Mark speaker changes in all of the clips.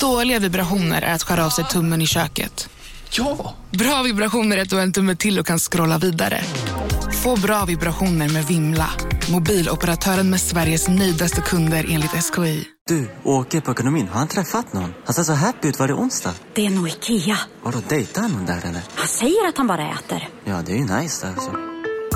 Speaker 1: Dåliga vibrationer är att skära av sig tummen i köket.
Speaker 2: Ja!
Speaker 1: Bra vibrationer är att du har en tumme till och kan scrolla vidare. Få bra vibrationer med Vimla. Mobiloperatören med Sveriges nöjdaste kunder enligt SKI.
Speaker 3: Du, åker på ekonomin. Har han träffat någon? Han ser så happy ut. Var det onsdag?
Speaker 4: Det är nog Ikea.
Speaker 3: Vadå, dejtar han någon där eller?
Speaker 4: Han säger att han bara äter.
Speaker 3: Ja, det är ju nice där alltså.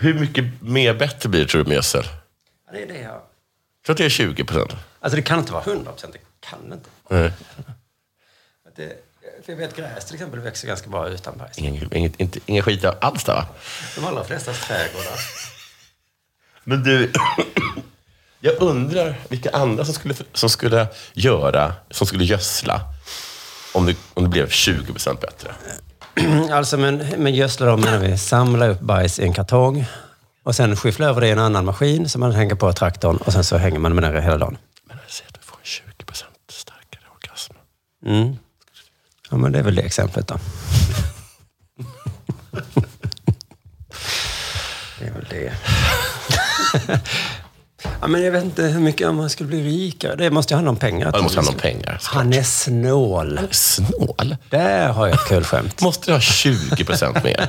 Speaker 5: Hur mycket mer bättre blir det tror du med gödsel?
Speaker 2: Ja, Det är det jag...
Speaker 5: Jag tror att det är 20 procent.
Speaker 2: Alltså det kan inte vara 100 procent. Det kan det inte.
Speaker 5: Nej,
Speaker 2: För att Det, för jag vet gräs till exempel växer ganska bra utan bajs.
Speaker 5: ingen, inget, inte, ingen skit alls där va?
Speaker 2: De allra flesta trädgårdar.
Speaker 5: Men du, jag undrar vilka andra som skulle, som skulle göra, som skulle gödsla om det, om det blev 20 procent bättre.
Speaker 2: Alltså, men, men gödsla då menar vi samla upp bajs i en kartong och sen skyffla över det i en annan maskin som man hänger på traktorn och sen så hänger man med den hela dagen.
Speaker 5: Men alltså, jag ser att du får en 20 procent starkare orgasm.
Speaker 2: Mm. Ja, men det är väl det exemplet då. det är väl det. ja, men jag vet inte hur mycket om man skulle bli rikare. Det måste ju handla om pengar.
Speaker 5: Ja, det måste handla om pengar. såklart.
Speaker 2: Han är snål.
Speaker 5: Snål?
Speaker 2: Där har jag ett kul skämt.
Speaker 5: Måste du ha 20 procent mer?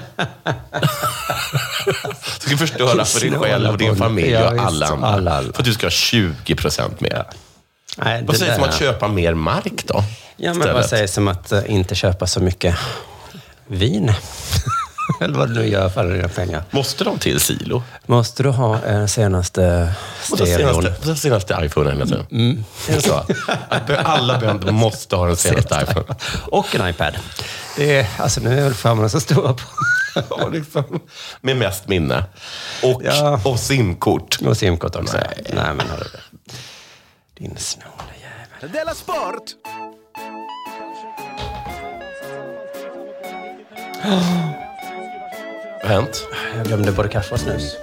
Speaker 5: Du ska förstöra för dig själv och din familj
Speaker 2: Ja,
Speaker 5: och
Speaker 2: visst.
Speaker 5: alla andra.
Speaker 2: Alla, alla.
Speaker 5: För att du ska ha 20 procent mer.
Speaker 2: Nej,
Speaker 5: Vad
Speaker 2: det
Speaker 5: sägs om
Speaker 2: där-
Speaker 5: att köpa mer mark då?
Speaker 2: Ja, men
Speaker 5: Istället.
Speaker 2: vad sägs om att eh, inte köpa så mycket vin? Eller vad du nu gör för alla dina pengar.
Speaker 5: Måste de till silo?
Speaker 2: Måste du ha eh, senaste
Speaker 5: Måste ha
Speaker 2: stereon?
Speaker 5: senaste, måste ha senaste iPhone hela tiden?
Speaker 2: Mm.
Speaker 5: Är det så? Att bö- alla bönder måste ha den senaste iPhone.
Speaker 2: Och en iPad. Det är, alltså, nu är väl skärmarna så stora på...
Speaker 5: Ja, liksom. Med mest minne. Och,
Speaker 2: Ja.
Speaker 5: och simkort.
Speaker 2: Och simkort också.
Speaker 5: Nej.
Speaker 2: Nej, Nej men har du det. Din snåla jävel.
Speaker 6: Della Sport!
Speaker 5: Vad har hänt?
Speaker 2: Jag glömde både kaffe och snus.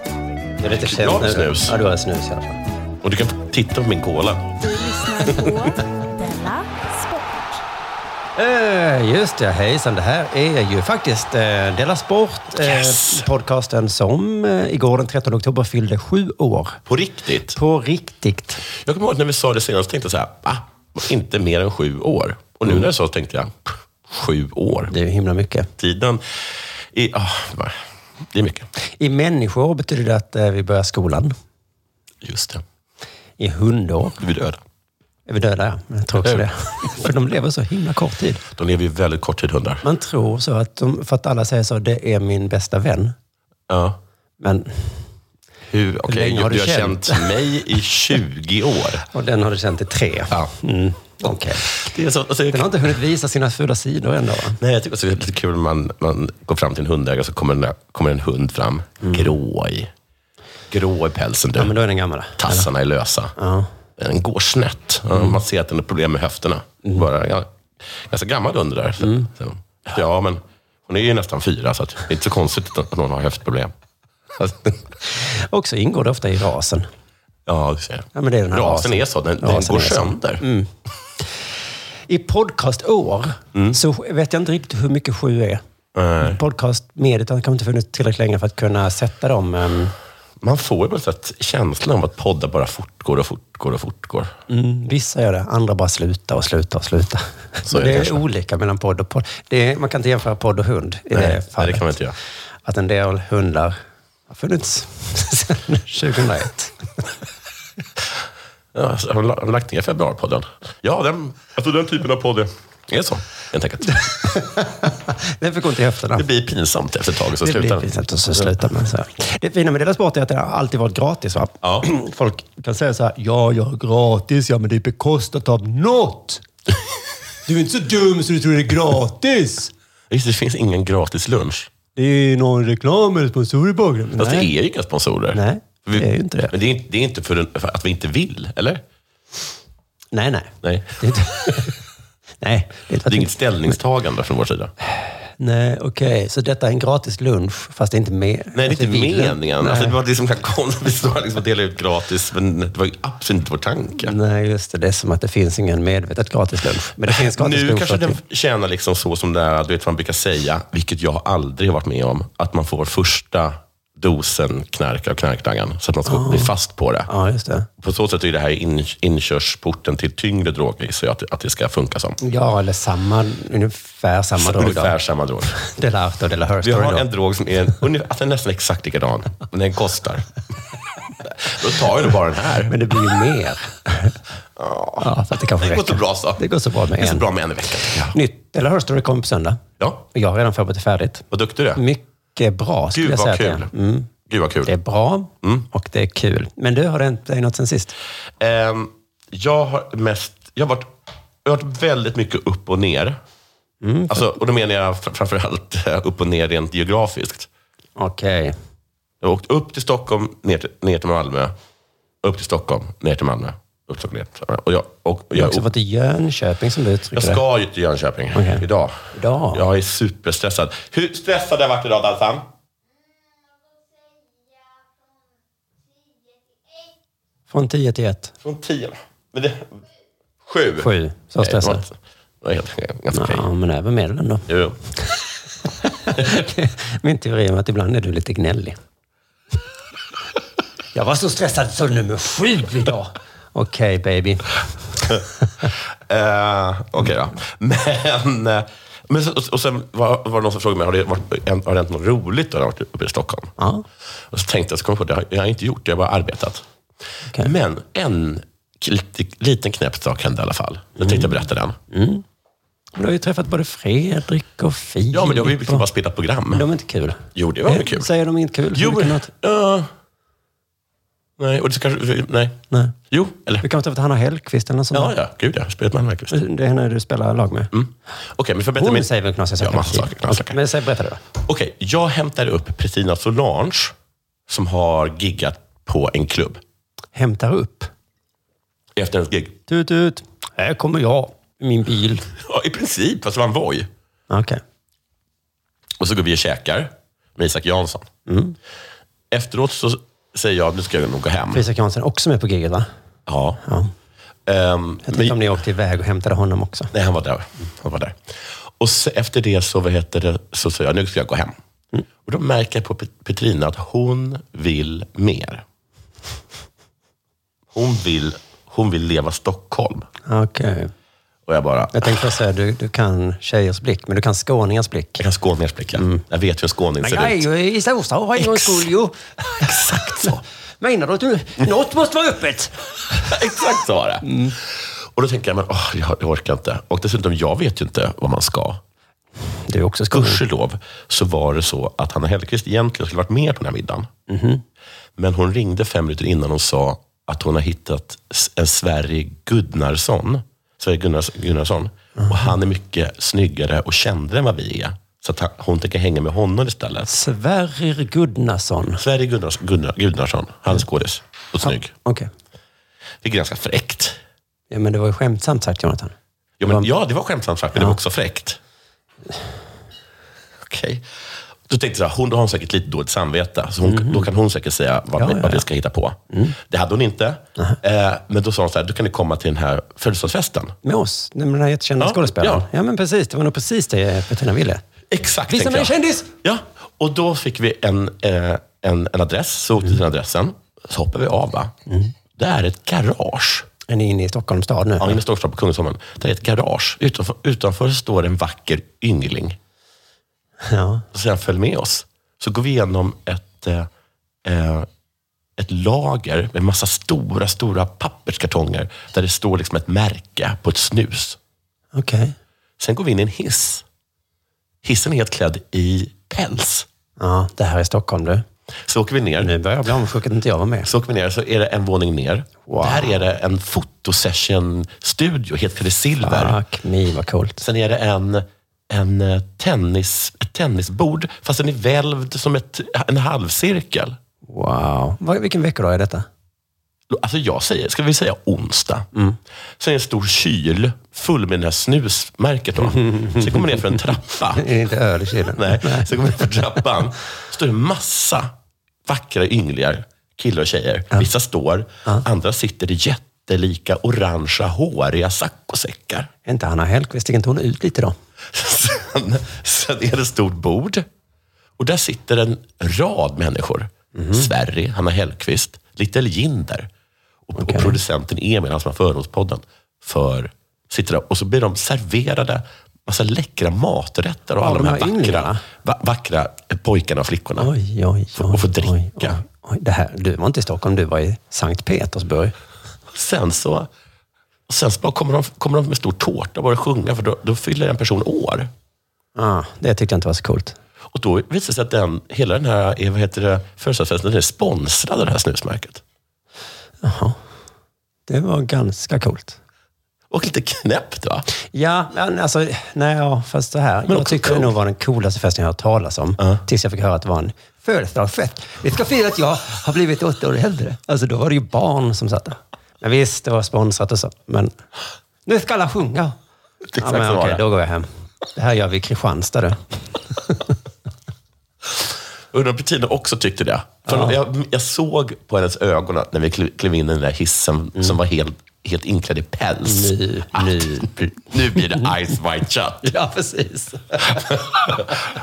Speaker 2: Det är lite
Speaker 5: Jag har
Speaker 2: sent nu.
Speaker 5: snus.
Speaker 2: Ja, du har snus i alla fall.
Speaker 5: Och du kan titta på min cola.
Speaker 7: Du lyssnar på Della Sport.
Speaker 2: Eh, just det, hejsan. Det här är ju faktiskt eh, Della Sport, eh,
Speaker 5: Yes.
Speaker 2: podcasten som eh, igår den 13 oktober fyllde sju år.
Speaker 5: På riktigt.
Speaker 2: På riktigt.
Speaker 5: Jag kommer ihåg att när vi sa det senast tänkte jag så här, va? Inte mer än sju år. Och nu när jag sa det tänkte jag, pff, sju år.
Speaker 2: Det är ju himla mycket.
Speaker 5: Tiden är, ah, va. det är mycket.
Speaker 2: I människor betyder det att eh, vi börjar skolan.
Speaker 5: Just det.
Speaker 2: I hundår
Speaker 5: Du är döda.
Speaker 2: är vi döda, ja. Jag tror också det. För de lever så himla kort tid.
Speaker 5: De lever ju väldigt kort tid, hundar.
Speaker 2: Man tror så att de, för att alla säger så, det är min bästa vän.
Speaker 5: Ja.
Speaker 2: Men,
Speaker 5: Hur, okej,
Speaker 2: länge har
Speaker 5: du,
Speaker 2: du
Speaker 5: har känt mig i 20 år.
Speaker 2: och den har du känt i tre.
Speaker 5: Ja.
Speaker 2: Mm, okej.
Speaker 5: Det är så, alltså,
Speaker 2: Den har inte hunnit visa sina fula sidor ändå. Va?
Speaker 5: Nej, jag tycker också det är lite kul när man, man går fram till en hundägare och så kommer en, där- kommer en hund fram. Grå i, grå i pälsen. Du.
Speaker 2: Ja, men då är den gammal.
Speaker 5: Tassarna är lösa.
Speaker 2: Ja. Mm.
Speaker 5: Den går snett. Ja, Man ser att den har problem med höfterna. Bara, ja, ganska gammal hund det där. Så,
Speaker 2: Mm.
Speaker 5: så. Ja, men hon är ju nästan fyra, så att, det är inte så konstigt att någon har höftproblem. Alltså,
Speaker 2: Och så ingår det ofta i rasen.
Speaker 5: ja, du ser.
Speaker 2: Ja, men det är den här
Speaker 5: rasen
Speaker 2: rasen.
Speaker 5: är så. Den, den
Speaker 2: Rasen
Speaker 5: går
Speaker 2: är så. Mm.
Speaker 5: sönder.
Speaker 2: I podcastår så vet jag inte riktigt hur mycket sju är.
Speaker 5: Mm. Nej.
Speaker 2: Podcastmediet har kanske inte funnits tillräckligt länge för att kunna sätta dem. ehm,
Speaker 5: Man får ju på något sätt känslan av att poddar bara fortgår och fortgår och fortgår.
Speaker 2: Mm. Vissa gör det, andra bara slutar och slutar och slutar.
Speaker 5: Så är det
Speaker 2: det är
Speaker 5: kanske.
Speaker 2: olika mellan podd och podd. Det är, man kan inte jämföra podd och hund i
Speaker 5: Nej,
Speaker 2: det
Speaker 5: nej,
Speaker 2: fallet.
Speaker 5: det kan man inte göra.
Speaker 2: Att en del hundar har funnits sedan 2001.
Speaker 5: Ja, alltså, har de la- har de lagt ner Februaripodden? Ja, den, alltså den typen av podd är- är så, helt enkelt.
Speaker 2: Den fick ont i höfterna.
Speaker 5: Det blir pinsamt efter ett tag, så
Speaker 2: Det
Speaker 5: slutar
Speaker 2: blir
Speaker 5: den.
Speaker 2: pinsamt och så slutar man så här. Det fina med deras sport är att det har alltid varit gratis. Va?
Speaker 5: Ja.
Speaker 2: Folk kan säga så här, ja, ja, gratis, ja, men det är bekostat av något. Du är inte så dum så du tror det är gratis.
Speaker 5: Visst, det finns ingen gratis lunch.
Speaker 2: Det är någon reklam eller sponsor i bakgrunden.
Speaker 5: Fast
Speaker 2: Nej.
Speaker 5: det är ju inga sponsorer.
Speaker 2: Nej.
Speaker 5: Vi,
Speaker 2: Det är ju inte det.
Speaker 5: Men det är, inte- det är inte för, en- för att vi inte vill, eller?
Speaker 2: Nej, nej.
Speaker 5: Nej.
Speaker 2: Det är inte... nej, det är inte
Speaker 5: Det
Speaker 2: att
Speaker 5: är
Speaker 2: vi-
Speaker 5: inget ställningstagande från vår sida.
Speaker 2: Nej, okej. Så detta är en gratis lunch, fast det är inte med.
Speaker 5: Nej, det är inte meningen.
Speaker 2: alltså, Nej.
Speaker 5: Alltså, det var liksom konstigt. Vi står här liksom och delar ut gratis, men det var ju absolut inte vår tanke.
Speaker 2: Nej, just det. Det är som att det finns ingen medvetet gratis lunch. Men det finns gratis
Speaker 5: Nu
Speaker 2: lunch.
Speaker 5: kanske
Speaker 2: åt
Speaker 5: den
Speaker 2: dig.
Speaker 5: tjänar liksom så som det är, du vet vad man brukar säga, vilket jag aldrig har varit med om, att man får första dosen knark av knarkdangan, så att man ska bli
Speaker 2: Ah.
Speaker 5: fast på det.
Speaker 2: Ja, just det.
Speaker 5: På så sätt är det här in, inkörsporten till tyngre droger, så jag att, att det ska funka som.
Speaker 2: Ja, eller samma, ungefär samma drog.
Speaker 5: Ungefär
Speaker 2: Ungefär.
Speaker 5: samma drog.
Speaker 2: De la Arte och De la Her
Speaker 5: Vi
Speaker 2: Story.
Speaker 5: har
Speaker 2: då.
Speaker 5: en drog som är, ungefär, att den är nästan exakt likadan, men den kostar. Då tar jag nog bara den här.
Speaker 2: Men det blir ju mer. ja, så att det kanske
Speaker 5: Det går
Speaker 2: räcker.
Speaker 5: så bra så.
Speaker 2: Det går så bra med
Speaker 5: Det är så
Speaker 2: en.
Speaker 5: bra med en i veckan. tycker jag.
Speaker 2: Nytt De la Her Story kommer på söndag.
Speaker 5: Ja,
Speaker 2: Och Jag har redan förberett det färdigt.
Speaker 5: vad duktig du är.
Speaker 2: Mycket bra, skulle
Speaker 5: Gud
Speaker 2: jag säga.
Speaker 5: vad
Speaker 2: att det är.
Speaker 5: kul. Mm.
Speaker 2: Mm.
Speaker 5: Gud vad kul.
Speaker 2: Det är bra och det är kul. Men du, har det hänt dig något sen sist?
Speaker 5: Ehm, jag har mest... Jag har, varit, jag har varit väldigt mycket upp och ner.
Speaker 2: Mm,
Speaker 5: Alltså, och då menar jag fr- framförallt eh, upp och ner rent geografiskt.
Speaker 2: Okej.
Speaker 5: Jag har åkt upp till Stockholm, ner till, ner till Malmö. Upp till Stockholm, ner till Malmö. Upp till Stockholm, ner till Malmö. Och jag, och, och
Speaker 2: Du har
Speaker 5: jag,
Speaker 2: också varit i Jönköping som du uttrycker
Speaker 5: jag ska ju till Jönköping
Speaker 2: Okej.
Speaker 5: idag.
Speaker 2: Idag?
Speaker 5: Jag är superstressad. Hur stressad har jag varit idag, Dalsan?
Speaker 2: det. Från 10 till 1.
Speaker 5: Från tio? Men det, sju?
Speaker 2: 7. Så
Speaker 5: Nej, det var
Speaker 2: stressad.
Speaker 5: inte- det var helt- ganska okej.
Speaker 2: Ja, men över medlen då.
Speaker 5: Jo, jo.
Speaker 2: Min teori är att ibland är du lite gnällig. Jag var så stressad så nummer sju idag. Okej, baby.
Speaker 5: Eh, Okej då. Men, eh, men så, och- och sen var, var det någon som frågade mig, har det, varit, en- har det hänt något roligt då när jag varit uppe i Stockholm?
Speaker 2: Ja.
Speaker 5: Och så tänkte jag, så kom jag på det, har- jag har inte gjort det, jag har bara arbetat.
Speaker 2: Okej.
Speaker 5: Men en k- lite, liten knäpp sak hände i alla fall. Jag tänkte jag
Speaker 2: Mm.
Speaker 5: berätta den.
Speaker 2: Men Du har ju träffat både Fredrik och Filip.
Speaker 5: Ja, men jag vill liksom
Speaker 2: och-
Speaker 5: bara spela program.
Speaker 2: De är inte kul. Eh,
Speaker 5: Jo, det var väl kul.
Speaker 2: Säger de inte kul?
Speaker 5: Jo,
Speaker 2: Kan du-
Speaker 5: ja. Nej, och det kanske... Nej.
Speaker 2: Nej.
Speaker 5: Jo, eller?
Speaker 2: Du kan ha träffat Hanna Hellquist eller något sånt
Speaker 5: Ja,
Speaker 2: där.
Speaker 5: ja. Gud, jag har spelat med henne verkligen. Okej,
Speaker 2: Det är henne du spelar lag med.
Speaker 5: men förbättra
Speaker 2: Hon
Speaker 5: min...
Speaker 2: säger väl knasiga saker?
Speaker 5: Mm, Ja, massa saker. Knasiga.
Speaker 2: Okej, Men säg, berätta du då.
Speaker 5: Okej, jag hämtar upp Petrina Solange som har giggat på en klubb.
Speaker 2: Hämtar upp.
Speaker 5: Efter hennes gig.
Speaker 2: Tut, tut. Här kommer jag. i Min bil. Ah,
Speaker 5: Ja, i princip. Fast det var en voj.
Speaker 2: Okej.
Speaker 5: Och så går vi och käkar med Isak Jansson.
Speaker 2: Mm.
Speaker 5: Efteråt så säger jag, nu ska jag nog gå hem.
Speaker 2: Isak Jansson är också med på giget, va?
Speaker 5: Ja.
Speaker 2: Ja.
Speaker 5: Ehm,
Speaker 2: Jag tänkte om
Speaker 5: men,
Speaker 2: ni åkte iväg och hämtade honom också.
Speaker 5: nej, han var där. Han var där. Och så, efter det så, vad heter det, så säger jag, nu ska jag gå hem.
Speaker 2: Mm.
Speaker 5: Och då märker jag på Pet- Petrina att hon vill mer. Hon vill, hon vill leva Stockholm.
Speaker 2: Ah, Okej.
Speaker 5: Och jag bara,
Speaker 2: Jag tänkte först säga, du, du kan tjejers blick, men du kan skåningars blick.
Speaker 5: "Ah, Jag kan skåningars blick, ja.
Speaker 2: Mm.
Speaker 5: Jag vet hur en skåning ser ut.
Speaker 2: ju i Storstad och har
Speaker 5: ingen skull,
Speaker 2: ju. Exakt så. Menar du att du, något måste vara öppet?
Speaker 5: Exakt så var det.
Speaker 2: Mm.
Speaker 5: Och då tänker jag, men åh, jag, jag orkar inte. Och dessutom, jag vet ju inte vad man ska.
Speaker 2: Du är också skåning.
Speaker 5: Gudskelov så var det så att Hanna Hellquist egentligen skulle varit med på den här middagen.
Speaker 2: Mm-hmm.
Speaker 5: Men hon ringde fem minuter innan och sa att hon har hittat s- en Sverige Gunnarsson. Sverige Gunnars, Gunnarsson.
Speaker 2: Mm-hmm.
Speaker 5: Och han är mycket snyggare och kändare än vad vi är. Så att han, hon tänker hänga med honom istället.
Speaker 2: Sverrir Gudnason.
Speaker 5: Sverige Gunnars, Gunnar, Gunnarsson, han är skådis och snygg.
Speaker 2: Okej.
Speaker 5: Vilket är ganska fräckt.
Speaker 2: Ja, men det var ju skämtsamt sagt, Jonathan.
Speaker 5: Ja, men, ja, det var skämtsamt sagt, men det var också fräckt. Okej. Då tänkte jag, så här, hon då har hon säkert lite dåligt samvete. Så hon, Då kan hon säkert säga vad,
Speaker 2: Ja,
Speaker 5: vi-
Speaker 2: ja,
Speaker 5: vad vi
Speaker 2: ja.
Speaker 5: ska hitta på. Det hade hon inte. Eh, men då sa hon så här, då kan ni komma till den här födelsedagsfesten.
Speaker 2: Med oss, med den här jättekända
Speaker 5: Ja,
Speaker 2: skådespelaren.
Speaker 5: ja.
Speaker 2: Ja. men precis. Det var nog precis det Petrina ville.
Speaker 5: Exakt,
Speaker 2: Visa
Speaker 5: tänkte
Speaker 2: mig en
Speaker 5: jag.
Speaker 2: kändis!
Speaker 5: Ja, och då fick vi en, eh, en, en adress. Så åkte vi till adressen. Så hoppade vi av. Va? Det är ett garage.
Speaker 2: Är ni inne i Stockholms stad nu?
Speaker 5: Ja, inne i Stockholm på Kungsholmen. Där är ett garage. Utanför, utanför står en vacker yngling.
Speaker 2: Ja.
Speaker 5: och sen följ med oss. Så går vi igenom ett, eh, eh, ett lager med massa stora, stora papperskartonger där det står liksom ett märke på ett snus.
Speaker 2: Okej.
Speaker 5: Sen går vi in i en hiss. Hissen är helt klädd i päls.
Speaker 2: Ja, det här är Stockholm du.
Speaker 5: Så åker vi ner.
Speaker 2: Nu börjar jag bli avundsjuk att inte jag var med.
Speaker 5: Så åker vi ner, så är det en våning ner.
Speaker 2: Wow.
Speaker 5: Där är det en fotosession-studio, helt klädd i silver.
Speaker 2: Fuck me, vad coolt.
Speaker 5: Sen är det en, en eh, tennis, ett tennisbord, fast den är välvd som ett, en halvcirkel.
Speaker 2: Wow. Vad- Vilken veckodag är detta?
Speaker 5: Alltså jag säger, ska vi säga onsdag? Mm. Sen är en stor kyl full med det här snusmärket. Då. Sen kommer ner för en trappa.
Speaker 2: Är det inte öl i kylen?
Speaker 5: Nej, sen kommer jag för trappan. står det en massa vackra ynglingar, killar och tjejer. Vissa står, andra sitter i jättelika orangea håriga saccosäckar.
Speaker 2: Är inte Anna Hellquist, sticker inte hon ut lite då?
Speaker 5: Sen, sen är det ett stort bord och där sitter en rad människor. Sverige, Hanna Hellquist, Little Jinder och, och producenten Emil, han som har fördomspodden, för, sitter där. Och så blir de serverade massa läckra maträtter och
Speaker 2: Ja,
Speaker 5: alla de
Speaker 2: de
Speaker 5: här
Speaker 2: här
Speaker 5: vackra,
Speaker 2: ynglingarna.
Speaker 5: va, vackra eh, pojkarna och flickorna.
Speaker 2: Oj, oj, oj.
Speaker 5: och få
Speaker 2: oj,
Speaker 5: dricka.
Speaker 2: oj, oj. Det här, du var inte i Stockholm, du var i Sankt Petersburg.
Speaker 5: Sen så sen så bara kommer, de, kommer de med stor tårta och börjar sjunga, för då, då fyller en person år.
Speaker 2: Ah, det tyckte jag inte var så coolt.
Speaker 5: Och då visar det sig att den, hela den här eh, vad heter det, födelsedagsfesten den är sponsrad av det här snusmärket.
Speaker 2: Det var ganska coolt.
Speaker 5: Och lite knäppt va?
Speaker 2: Ja, men alltså, nej, ja, fast så här. jag
Speaker 5: också
Speaker 2: tyckte det
Speaker 5: coolt.
Speaker 2: nog var den coolaste festen jag har hört talas om. Tills jag fick höra att det var en födelsedagsfest. Vi ska fira att jag har blivit åtta år äldre. Alltså, då var det ju barn som satt där. Men visst, det var sponsrat och så. Men nu ska alla sjunga.
Speaker 5: Det är
Speaker 2: Ja,
Speaker 5: exakt
Speaker 2: men,
Speaker 5: så var
Speaker 2: okej,
Speaker 5: det.
Speaker 2: då går jag hem. Det här gör vi i Kristianstad du.
Speaker 5: Undrar om Petina också tyckte det. För jag, jag såg på hennes ögon att när vi klev klev in i den där hissen
Speaker 2: Mm.
Speaker 5: som var helt, helt inklädd i päls.
Speaker 2: Nu,
Speaker 5: att
Speaker 2: nu.
Speaker 5: nu blir det Ice White Shut.
Speaker 2: Ja, precis.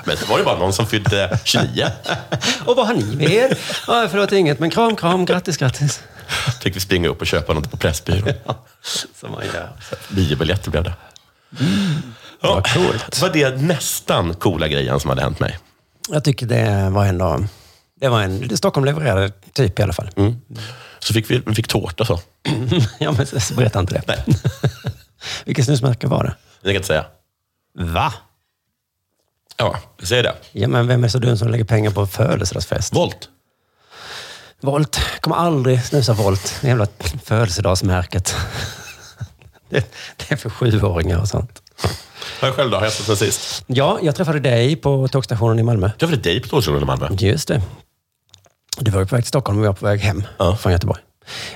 Speaker 5: Men det var ju bara någon som fyllde 29.
Speaker 2: Och vad har ni med er? Ja, förlåt, inget. Men kram, kram. Grattis, grattis.
Speaker 5: Fick vi springa upp och köpa något på Pressbyrån.
Speaker 2: Som man gör.
Speaker 5: Biobiljetter blev det. Ja,
Speaker 2: Vad coolt.
Speaker 5: var det nästan coola grejen som hade hänt mig.
Speaker 2: Jag tycker det var en dag. Det var en, Stockholm levererade typ i alla fall.
Speaker 5: Så fick vi, vi fick tårta så.
Speaker 2: Ja, men så- så berätta inte det.
Speaker 5: Nej.
Speaker 2: Vilket snusmärke var det?
Speaker 5: Jag kan inte säga.
Speaker 2: Va?
Speaker 5: Ja, jag säger det.
Speaker 2: Ja, men vem är så dum som lägger pengar på en födelsedagsfest?
Speaker 5: Volt.
Speaker 2: Volt. Kommer aldrig snusa Volt. Det jävla födelsedagsmärket. Det, det är för sjuåringar och sånt.
Speaker 5: Vad jag själv då? Har jag sett sen sist?
Speaker 2: Ja, jag träffade dig på tågstationen i Malmö.
Speaker 5: Jag var det dig på Tårtskolan i Malmö.
Speaker 2: Just det. Du var ju på väg till Stockholm och jag var på väg hem
Speaker 5: Ja.
Speaker 2: från Göteborg.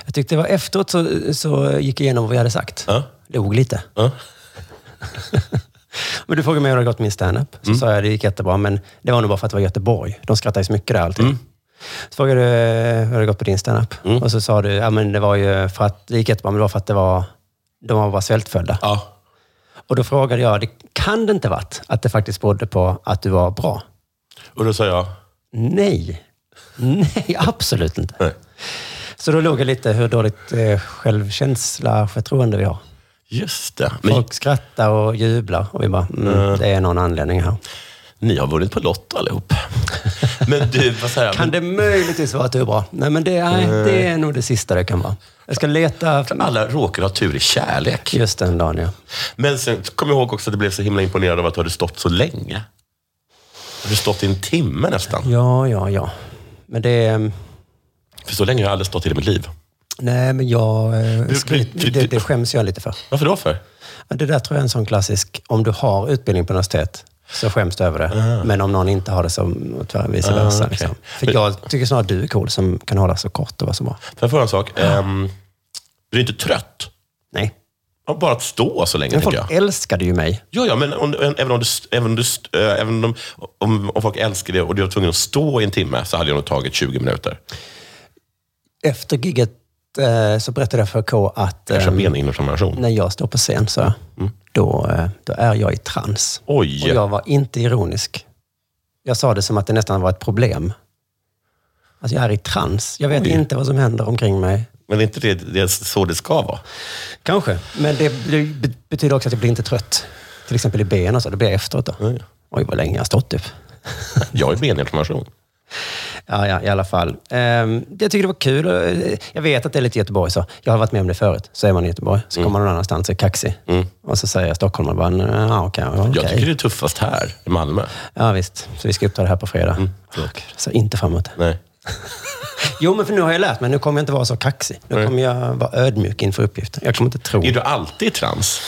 Speaker 2: Jag tyckte det var efteråt så, så gick jag igenom vad vi hade sagt.
Speaker 5: Ja.
Speaker 2: Log lite.
Speaker 5: Ja.
Speaker 2: Men du frågade mig hur det hade gått med min standup.
Speaker 5: Mm.
Speaker 2: Så sa jag det gick jättebra, men det var nog bara för att det var Göteborg. De skrattar ju så mycket där alltid.
Speaker 5: Mm.
Speaker 2: Så frågade du eh, hur det hade gått på din standup. Och så sa du, ja men det var ju för att det gick jättebra, men det var för att det var, de var bara svältfödda.
Speaker 5: Ja.
Speaker 2: Och då frågade jag, det kan det inte varit att det faktiskt berodde på att du var bra?
Speaker 5: Och då sa jag,
Speaker 2: Nej. Nej, absolut inte.
Speaker 5: Nej.
Speaker 2: Så då låg jag lite hur dåligt eh, självkänsla, förtroende vi har.
Speaker 5: just det. Men
Speaker 2: Folk skrattar och jublar och vi bara, mm, det är någon anledning här.
Speaker 5: ni har vunnit på Lotto allihop. Men du, vad säger jag?
Speaker 2: Kan det möjligtvis vara att du är bra? Nej, men det, nej, det är nog det sista det kan vara. Jag ska leta
Speaker 5: Alla råkar ha tur i kärlek.
Speaker 2: just den dagen, ja.
Speaker 5: Men sen kom jag ihåg också att du blev så himla imponerad av att du hade stått så länge. Du har stått i en timme nästan.
Speaker 2: Ja, ja, ja. Men det... eh,
Speaker 5: För så länge har jag aldrig stått i mitt liv.
Speaker 2: Nej, men jag... eh,
Speaker 5: Du-
Speaker 2: skryt-
Speaker 5: du- du-
Speaker 2: Det, det skäms jag lite för.
Speaker 5: Varför då för?
Speaker 2: Ja, Det där tror jag är en sån klassisk, om du har utbildning på universitet så skäms du över det. Men om någon inte har det så tyvärr vice
Speaker 5: Ah,
Speaker 2: versa.
Speaker 5: okej.
Speaker 2: Liksom. För
Speaker 5: Men-
Speaker 2: jag tycker snarare du är cool som kan hålla så kort och vara så bra.
Speaker 5: Får jag fråga en sak? Ehm, du är inte trött?
Speaker 2: Nej.
Speaker 5: av Bara att stå så länge,
Speaker 2: Men
Speaker 5: tänker
Speaker 2: folk
Speaker 5: jag.
Speaker 2: älskade ju mig.
Speaker 5: Ja, ja, men om, även, om du, även, om du, eh, även om, om, om folk älskar det och du var tvungen att stå i en timme så hade jag nog tagit 20 minuter.
Speaker 2: Efter gigget eh, så berättade jag för K att
Speaker 5: Kanske
Speaker 2: ehm,
Speaker 5: um, benhinnetranspiration.
Speaker 2: när jag står på scen, så,
Speaker 5: Mm.
Speaker 2: då, eh, då är jag i trans.
Speaker 5: Oj!
Speaker 2: Och jag var inte ironisk. Jag sa det som att det nästan var ett problem. Alltså jag är i trans. Jag vet
Speaker 5: Oj.
Speaker 2: inte vad som händer omkring mig.
Speaker 5: Men är inte det, det är så det ska vara?
Speaker 2: Kanske, men det blir- be- betyder också att jag blir inte trött. Till exempel i ben och så, det blir jag efteråt då.
Speaker 5: Mm.
Speaker 2: Oj, vad länge jag har stått typ. upp.
Speaker 5: Jag är benhinnetranspiration.
Speaker 2: Ja, ja, i alla fall. Ehm, jag tycker det var kul. och, eh, Jag vet att det är lite Göteborg så. Jag har varit med om det förut. Så är man i Göteborg, så
Speaker 5: Mm.
Speaker 2: kommer man någon annanstans och är kaxig. Och så säger jag Stockholm och bara, "Nej, ja, okej. Okay,
Speaker 5: Jag tycker det är tuffast här i Malmö.
Speaker 2: Ja, visst. Så vi ska uppta det här på fredag.
Speaker 5: Mm,
Speaker 2: så inte fram emot det.
Speaker 5: Nej.
Speaker 2: Jo, men för nu har jag lärt mig. Nu kommer jag inte vara så kaxig. Nu
Speaker 5: Nej.
Speaker 2: kommer jag vara ödmjuk inför uppgiften. Jag kommer inte tro.
Speaker 5: Är du alltid trans?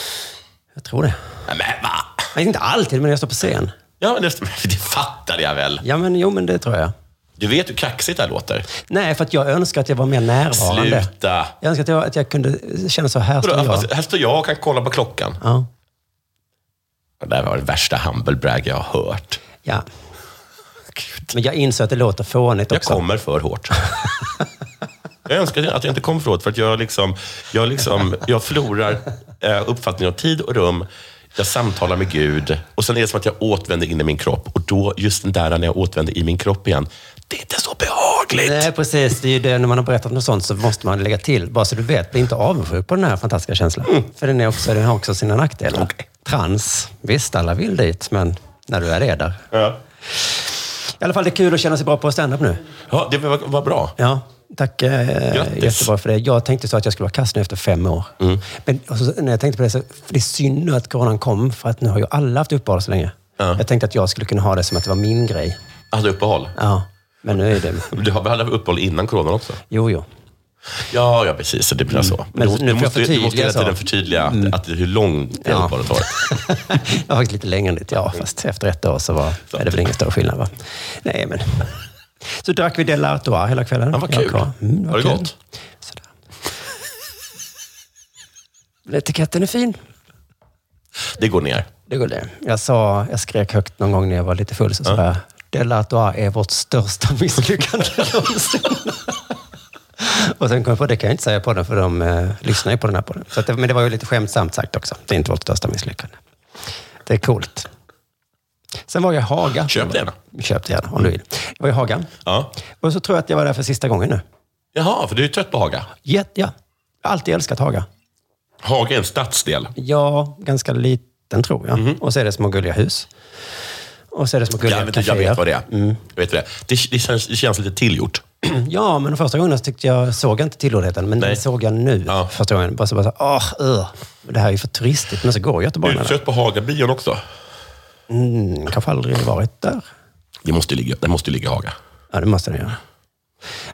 Speaker 2: Jag tror det.
Speaker 5: Nej, men va?
Speaker 2: Nej, inte alltid, men när jag står på scen.
Speaker 5: Ja, men det, det fattar jag väl.
Speaker 2: Ja, men jo, men det tror jag.
Speaker 5: Du vet hur kaxigt det här låter.
Speaker 2: Nej, för att jag önskar att jag var mer närvarande.
Speaker 5: Sluta!
Speaker 2: Jag önskar att jag, att jag kunde känna så här står
Speaker 5: Vadå,
Speaker 2: jag.
Speaker 5: alltså, här står jag och kan kolla på klockan.
Speaker 2: Ja.
Speaker 5: Det där var det värsta humble brag jag har hört.
Speaker 2: ja. Men jag inser att det låter fånigt
Speaker 5: Jag
Speaker 2: också.
Speaker 5: kommer för hårt. jag önskar att jag inte kom för hårt, för att jag, liksom, jag, liksom, jag förlorar eh, uppfattningen om tid och rum. Jag samtalar med Gud och sen är det som att jag återvänder in i min kropp. Och då, just den där när jag återvänder i min kropp igen, det är inte så behagligt.
Speaker 2: Nej, precis. Det är ju det, när man har berättat något sånt så måste man lägga till. Bara så du vet, bli inte avundsjuk på den här fantastiska känslan.
Speaker 5: Mm.
Speaker 2: För den, är också, den har också sina nackdelar. Trans, visst alla vill dit, men när du är det där.
Speaker 5: Ja.
Speaker 2: I alla fall, det är kul att känna sig bra på stand-up nu.
Speaker 5: Ja, det var, var bra.
Speaker 2: Ja, tack eh,
Speaker 5: Grattis. Mm.
Speaker 2: jättebra för det. Jag tänkte så att jag skulle vara kass nu efter fem år. Men och så, när jag tänkte på det så, för det är synd nu att coronan kom, för att nu har ju alla haft uppehåll så länge.
Speaker 5: Ja.
Speaker 2: Jag tänkte att jag skulle kunna ha det som att det var min grej.
Speaker 5: Jag hade uppehåll.
Speaker 2: Ja, men nu är det...
Speaker 5: Du har- vi hade uppehåll innan coronan också?
Speaker 2: Jo, jo.
Speaker 5: Ja, ja precis. Så Det blir så.
Speaker 2: Mm. Men
Speaker 5: du,
Speaker 2: nu får
Speaker 5: du,
Speaker 2: jag
Speaker 5: måste, du måste
Speaker 2: förtydliga,
Speaker 5: hela tiden
Speaker 2: så.
Speaker 5: förtydliga att, att, hur lång det
Speaker 2: Ja.
Speaker 5: uppehållet var.
Speaker 2: Det var faktiskt lite längre än dit, ja. Fast efter ett år så var, är det väl ingen större skillnad, va? Nej, men... Så drack vi Del Artois hela kvällen.
Speaker 5: Ja, vad
Speaker 2: Jag
Speaker 5: kul.
Speaker 2: kvar. Mm,
Speaker 5: Var det
Speaker 2: kul.
Speaker 5: gott?
Speaker 2: Sådär. Men Etiketten är fin.
Speaker 5: Det går ner.
Speaker 2: Det går det. Jag, sa, jag skrek högt någon gång när jag var lite full, så sa jag Del Artois är vårt största misslyckande någonsin. Och sen kom jag på, det kan jag inte säga på den för de eh, lyssnar ju på den här podden. Så att det, men det var ju lite skämtsamt sagt också. Det är inte vårt största misslyckande. Det är coolt. Sen var jag i Haga.
Speaker 5: Köp det gärna.
Speaker 2: Köp det gärna, om du vill. Jag var i Haga.
Speaker 5: Ja.
Speaker 2: Och så tror jag att jag var där för sista gången nu.
Speaker 5: Jaha, för du är trött på Haga.
Speaker 2: Jätte, ja. Jag har alltid älskat Haga.
Speaker 5: Haga är en stadsdel.
Speaker 2: Ja, ganska liten tror jag. Och så är det små gulliga hus. Och så är det små gulliga
Speaker 5: Mhm. Ja, men du, jag vet vad det är.
Speaker 2: Mm.
Speaker 5: Jag vet vad det, är. Det, det, känns, det känns lite tillgjort.
Speaker 2: Ja, men de första gången så tyckte jag, såg jag inte tillhörigheten, men
Speaker 5: Nej.
Speaker 2: det såg jag nu
Speaker 5: Ja.
Speaker 2: första gången. Bara så, bara så åh, ugh. det här är ju för turistigt. Men så går
Speaker 5: Du
Speaker 2: Göteborg
Speaker 5: är
Speaker 2: med det.
Speaker 5: trött på Hagabion också.
Speaker 2: Mm, kanske aldrig varit där.
Speaker 5: Det måste ju ligga, det måste ju ligga i Haga.
Speaker 2: Ja, det måste det göra.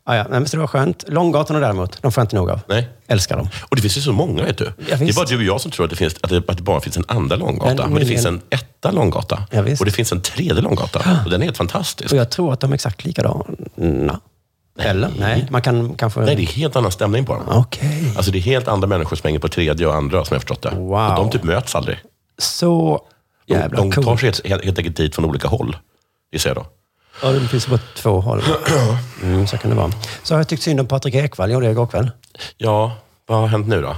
Speaker 2: Ja, ja. Nej, men så det var skönt. Långgatorna däremot, de får jag inte nog av.
Speaker 5: Nej.
Speaker 2: Älskar dem.
Speaker 5: Och det finns ju så många, vet du.
Speaker 2: Ja,
Speaker 5: det är
Speaker 2: visst.
Speaker 5: bara du och jag som tror att det, finns, att det, att det bara finns en andra långgata.
Speaker 2: Men
Speaker 5: Men, det
Speaker 2: min-
Speaker 5: finns en etta långgata.
Speaker 2: Ja, visst.
Speaker 5: och det finns en tredje långgata. Och den är helt fantastisk.
Speaker 2: Och jag tror att de är exakt likadana. Eller? Nej, man kan kanske...
Speaker 5: Nej, det är helt annan stämning på dem.
Speaker 2: Okej.
Speaker 5: Alltså det är helt andra människor som hänger på tredje och andra, som jag förstått det.
Speaker 2: Wow.
Speaker 5: Och de typ möts aldrig.
Speaker 2: Så
Speaker 5: De,
Speaker 2: jävla
Speaker 5: de tar
Speaker 2: coolt.
Speaker 5: sig helt, helt, helt enkelt dit från olika håll, gissar jag då.
Speaker 2: Ja, det finns ju bara två håll. Mm, så kan det vara. Så har jag tyckt synd om Patrik Ekwall. Jag gjorde det igår kväll.
Speaker 5: Ja, vad har hänt nu då?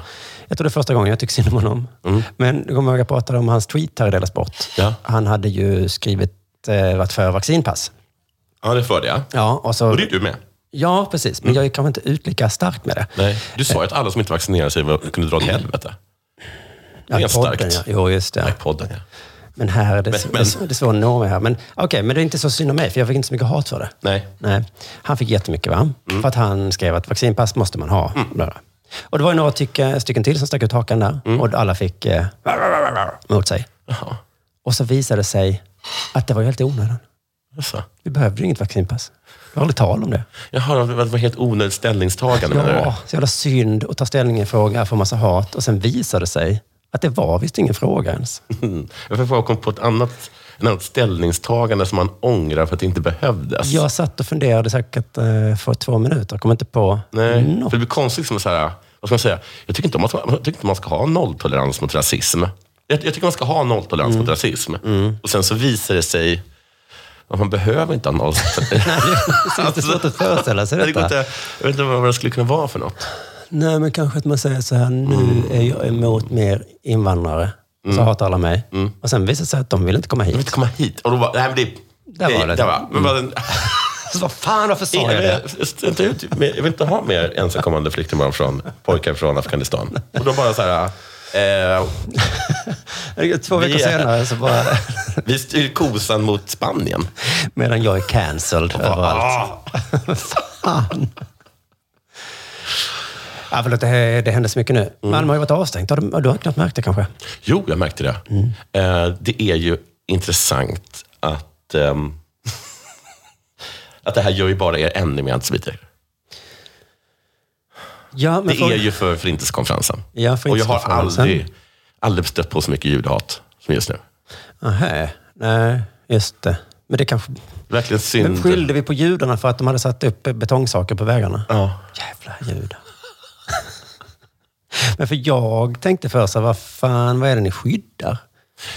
Speaker 2: Jag tror det är första gången jag tycker synd om honom. Men du kommer ihåg att jag pratade om hans tweet här i Della Sport.
Speaker 5: Mm. Ja.
Speaker 2: Han hade ju skrivit, eh, varit för vaccinpass.
Speaker 5: Ja, det förde jag.
Speaker 2: Ja, och så,
Speaker 5: Och det är du med.
Speaker 2: ja, precis. Men jag är kanske inte ut lika starkt med det.
Speaker 5: Nej. Du sa ju att alla som inte vaccinerade sig var, kunde dra åt helvete.
Speaker 2: Ja, i
Speaker 5: Rent
Speaker 2: podden,
Speaker 5: starkt.
Speaker 2: Ja. Jo, just det.
Speaker 5: Nej, podden ja.
Speaker 2: Men här är det, men,
Speaker 5: Men-
Speaker 2: det är svårt att nå mig här. Men okej, men det är inte så synd om mig, för jag fick inte så mycket hat för det.
Speaker 5: Nej. Mm.
Speaker 2: Nej. Han fick jättemycket, va? För att han skrev att vaccinpass måste man ha. Bla, bla. Och det var ju några tycke, stycken till som stack ut hakan där.
Speaker 5: Mm.
Speaker 2: Och alla fick eh, mot sig.
Speaker 5: Jaha,
Speaker 2: Och så visade det sig att det var ju helt i onödan.
Speaker 5: alltså.
Speaker 2: Vi behövde ju inget vaccinpass. Det var aldrig tal om det.
Speaker 5: Jaha, det var- det var helt onödigt ställningstagande menar du?
Speaker 2: Ja, så jävla synd att ta ställning i en fråga, få massa hat. Och sen visade det sig att det var visst ingen fråga ens.
Speaker 5: Mm. Jag får bara komma på ett annat, ett annat ställningstagande som man ångrar för att det inte behövdes.
Speaker 2: Jag satt och funderade säkert eh, för två minuter och kom inte på
Speaker 5: Nej,
Speaker 2: något.
Speaker 5: för det blir konstigt som så här, vad ska man säga? Jag tycker inte, om att, jag tycker inte man ska ha nolltolerans mot rasism. Jag, jag tycker man ska ha nolltolerans
Speaker 2: Mm.
Speaker 5: mot rasism. Och sen så visar det sig att man behöver inte ha nolltolerans.
Speaker 2: Det är svårt att föreställa sig
Speaker 5: Jag, tycker
Speaker 2: detta.
Speaker 5: inte, jag vet inte vad det skulle kunna vara för något.
Speaker 2: Nej, men kanske att man säger så här, nu
Speaker 5: Mm.
Speaker 2: är jag emot mer invandrare. Så hatar alla mig.
Speaker 5: Mm.
Speaker 2: Och sen visar det sig att de vill inte komma
Speaker 5: Jag vill
Speaker 2: hit.
Speaker 5: inte komma hit. Och då bara, nej men det... nej,
Speaker 2: Där var det. Mm.
Speaker 5: Där var, men bara, den-
Speaker 2: Så vad fan, varför sa jag
Speaker 5: Nej,
Speaker 2: det?
Speaker 5: men jag- ställ inte ut med- jag vill inte ha mer ensamkommande flyktingbarn från pojkar från Afghanistan. Och då bara så här... Eh,
Speaker 2: Två veckor
Speaker 5: Vi är-
Speaker 2: senare så bara...
Speaker 5: vi styr kosan mot Spanien.
Speaker 2: Medan jag är cancelled
Speaker 5: Ah.
Speaker 2: överallt. Fan. Ja, förlåt, det, här- det händer så mycket nu.
Speaker 5: Mm.
Speaker 2: Malmö har ju varit avstängt. Har du, du har knappt märkt det kanske?
Speaker 5: Jo, jag märkte det.
Speaker 2: Mm.
Speaker 5: Eh, det är ju intressant att, ehm, att det här gör ju bara er ännu mer antisemiter.
Speaker 2: Ja, men
Speaker 5: Det
Speaker 2: fråga-
Speaker 5: är ju för Förintelsekonferensen.
Speaker 2: Ja,
Speaker 5: Och jag har
Speaker 2: Förintelsekonferensen.
Speaker 5: aldrig, aldrig stött på så mycket judehat som just nu.
Speaker 2: Aha, nej, just det. Men det kanske...
Speaker 5: Verkligen
Speaker 2: Men
Speaker 5: synd.
Speaker 2: skyllde vi på judarna för att de hade satt upp betongsaker på vägarna?
Speaker 5: Ja.
Speaker 2: Jävla judar. Men för jag tänkte först, så här, vad fan, vad är det ni skyddar?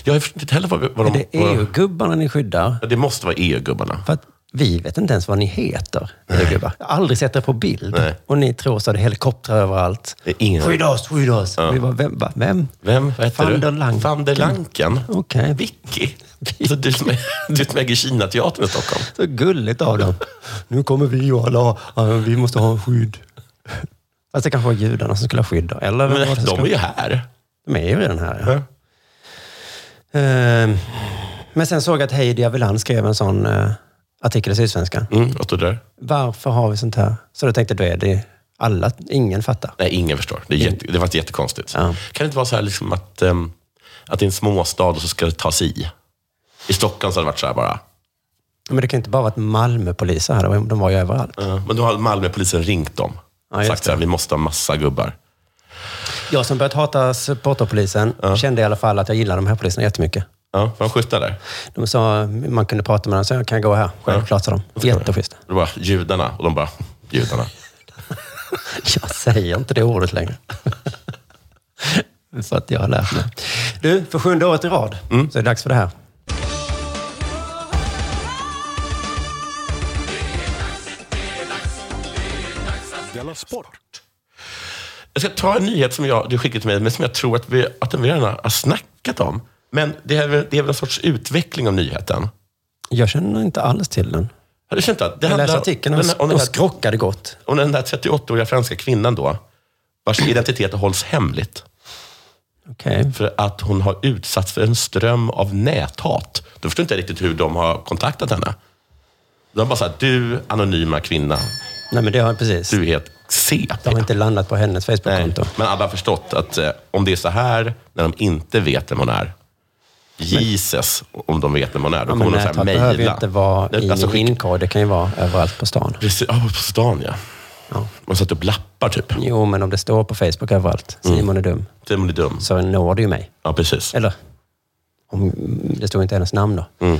Speaker 5: Jag har förstått inte heller vad, vad
Speaker 2: Är
Speaker 5: de...
Speaker 2: det EU-gubbarna ni skyddar?
Speaker 5: Ja, det måste vara E EU-gubbarna.
Speaker 2: För att vi vet inte ens vad ni heter, EU-gubbar. Jag har aldrig sett er på bild.
Speaker 5: Nej.
Speaker 2: Och ni tror så är det helikoptrar överallt.
Speaker 5: Det är ingen-
Speaker 2: Skydda oss, skydda oss! Vi bara, vem? Va? vem?
Speaker 5: Vem? Vad heter
Speaker 2: Van
Speaker 5: du?
Speaker 2: der Lanken. Mm.
Speaker 5: Van der Lanken?
Speaker 2: Okej.
Speaker 5: Vicky? Alltså, du som är, du som äger Kina-teatern i Stockholm.
Speaker 2: Så gulligt av dem. Nu kommer vi och alla, ja, vi måste ha en skydd. Fast det kanske var judarna som skulle ha skydd då. Eller vem var det
Speaker 5: Men
Speaker 2: som
Speaker 5: de är
Speaker 2: skulle-
Speaker 5: ju här.
Speaker 2: de är ju redan här. Ja.
Speaker 5: Ja.
Speaker 2: Ehm, men sen såg jag att Heidi Aviland skrev en sån eh, artikel i Sydsvenskan.
Speaker 5: Mm, vad stod det där?
Speaker 2: Varför har vi sånt här? Så då tänkte jag, då är det alla, ingen fattar.
Speaker 5: Nej, ingen förstår. Det, är jätte, det var inte jättekonstigt.
Speaker 2: Ja.
Speaker 5: Kan det inte vara så här liksom att, ehm, att det är en småstad och så ska det tas i? I Stockholm så hade det varit så här bara.
Speaker 2: Men det kan ju inte bara vara att Malmöpoliser här, de var ju överallt.
Speaker 5: eh, Men då har Malmöpolisen ringt dem.
Speaker 2: Ja, just
Speaker 5: sagt så här, vi måste ha massa gubbar.
Speaker 2: Jag som börjat hata supporterpolisen kände i alla fall att jag gillar de här poliserna jättemycket.
Speaker 5: Ja, de skjuter där.
Speaker 2: De sa, man kunde prata med dem, så jag kan gå här. Självklart sa de. Jätteschyssta.
Speaker 5: Det var judarna och de bara, judarna.
Speaker 2: Jag säger inte det ordet längre. För att jag har lärt mig. Du, för sjunde året i rad så är det dags för det här.
Speaker 5: Jag ska ta en nyhet som jag, du skickade till mig, men som jag tror att vi, att vi redan har snackat om. Men det är, väl- det är väl en sorts utveckling av nyheten.
Speaker 2: Jag känner inte alls till den.
Speaker 5: Har du känt att det
Speaker 2: Jag läste
Speaker 5: handlar-
Speaker 2: artikeln
Speaker 5: den här-
Speaker 2: och,
Speaker 5: om den
Speaker 2: och
Speaker 5: här-
Speaker 2: skrockade gott.
Speaker 5: om den där 38-åriga franska kvinnan då, vars identitet hålls hemligt
Speaker 2: Okej.
Speaker 5: för att hon har utsatts för en ström av näthat. Då förstår inte jag riktigt hur de har kontaktat henne. De har bara sagt, du anonyma kvinna,
Speaker 2: Nej, men det har precis.
Speaker 5: du är helt CP.
Speaker 2: De har inte landat på hennes
Speaker 5: Nej,
Speaker 2: Facebook-konto.
Speaker 5: men alla har förstått att eh, om det är så här, när de inte vet vem hon är, Jesus, om de vet vem hon är, då
Speaker 2: Ja,
Speaker 5: kommer
Speaker 2: men
Speaker 5: hon att
Speaker 2: näthat
Speaker 5: så här
Speaker 2: behöver ju
Speaker 5: mejla.
Speaker 2: inte vara i
Speaker 5: Alltså,
Speaker 2: min
Speaker 5: skicka-
Speaker 2: inkorg. Det kan ju vara överallt på stan.
Speaker 5: Precis, ja, på stan ja.
Speaker 2: Ja.
Speaker 5: Man satt upp lappar typ.
Speaker 2: Jo, men om det står på Facebook överallt,
Speaker 5: Mm.
Speaker 2: Simon är dum,
Speaker 5: Simon är dum.
Speaker 2: så når det ju mig.
Speaker 5: Ja, precis.
Speaker 2: Eller? Om, det står inte hennes namn då.
Speaker 5: Mm.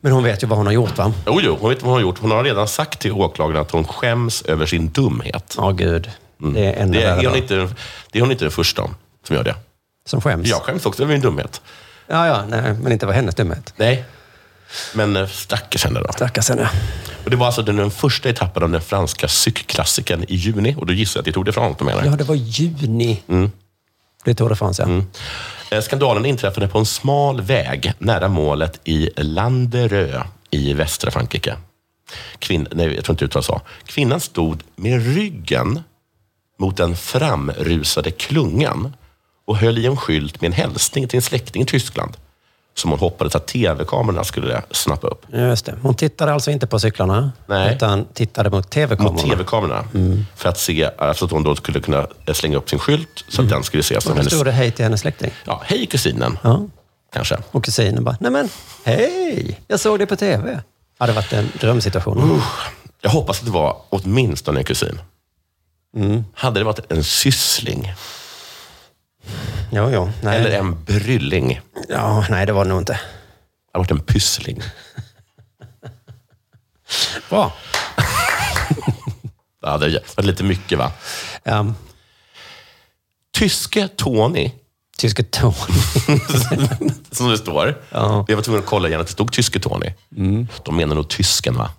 Speaker 2: Men hon vet ju vad hon har gjort, va?
Speaker 5: Jo, jo, hon vet vad hon har gjort. Hon har redan sagt till åklagaren att hon skäms över sin dumhet.
Speaker 2: Ja, gud. Det är ännu
Speaker 5: Mm. Det är,
Speaker 2: värre
Speaker 5: hon
Speaker 2: då.
Speaker 5: inte, det är hon inte den första om som gör det.
Speaker 2: Som skäms.
Speaker 5: Jag skäms också över min dumhet.
Speaker 2: ja, ja nej, men inte var hennes dumhet.
Speaker 5: Nej. Men eh, stackars henne då.
Speaker 2: Stackars henne.
Speaker 5: Och det var alltså den, den första etappen av den franska cykelklassikern i juni. Och då gissar jag att det tog det från menar.
Speaker 2: Ja, det var juni.
Speaker 5: Mm.
Speaker 2: Det är Tour de France, ja.
Speaker 5: Eh, Skandalen inträffade på en smal väg nära målet i Landerö i västra Frankrike. Kvinn, nej, jag tror inte det uttalas så. Kvinnan stod med ryggen mot den framrusade klungan och höll i en skylt med en hälsning till en släkting i Tyskland som hon hoppades att tv-kamerorna skulle snappa upp.
Speaker 2: Just det. Hon tittade alltså inte på cyklarna,
Speaker 5: Nej.
Speaker 2: utan tittade mot
Speaker 5: Mot
Speaker 2: tv-kamerorna.
Speaker 5: tv-kamerorna.
Speaker 2: Mm.
Speaker 5: För att se, alltså att hon då skulle kunna eh, slänga upp sin skylt så att den skulle ses som
Speaker 2: Och då
Speaker 5: hennes...
Speaker 2: stod Mm. det hej till hennes släkting.
Speaker 5: Ja, hej kusinen,
Speaker 2: Ja.
Speaker 5: kanske.
Speaker 2: Och kusinen bara, nej men hej, jag såg det på tv. Ja, det varit en drömsituation.
Speaker 5: Jag hoppas att det var åtminstone en kusin.
Speaker 2: Mm.
Speaker 5: Hade det varit en syssling
Speaker 2: Jo, jo. Nej.
Speaker 5: eller en brylling, det
Speaker 2: Ja, nej, det var det nog inte.
Speaker 5: hade varit en pyssling.
Speaker 2: Bra.
Speaker 5: Ja, det hade varit lite mycket va?
Speaker 2: Um,
Speaker 5: Tyske Tony,
Speaker 2: Tyske Tony.
Speaker 5: som det står.
Speaker 2: Ja. Mm.
Speaker 5: Jag var tvungen att kolla igen att det stod Tyske Tony. De menar nog tysken va?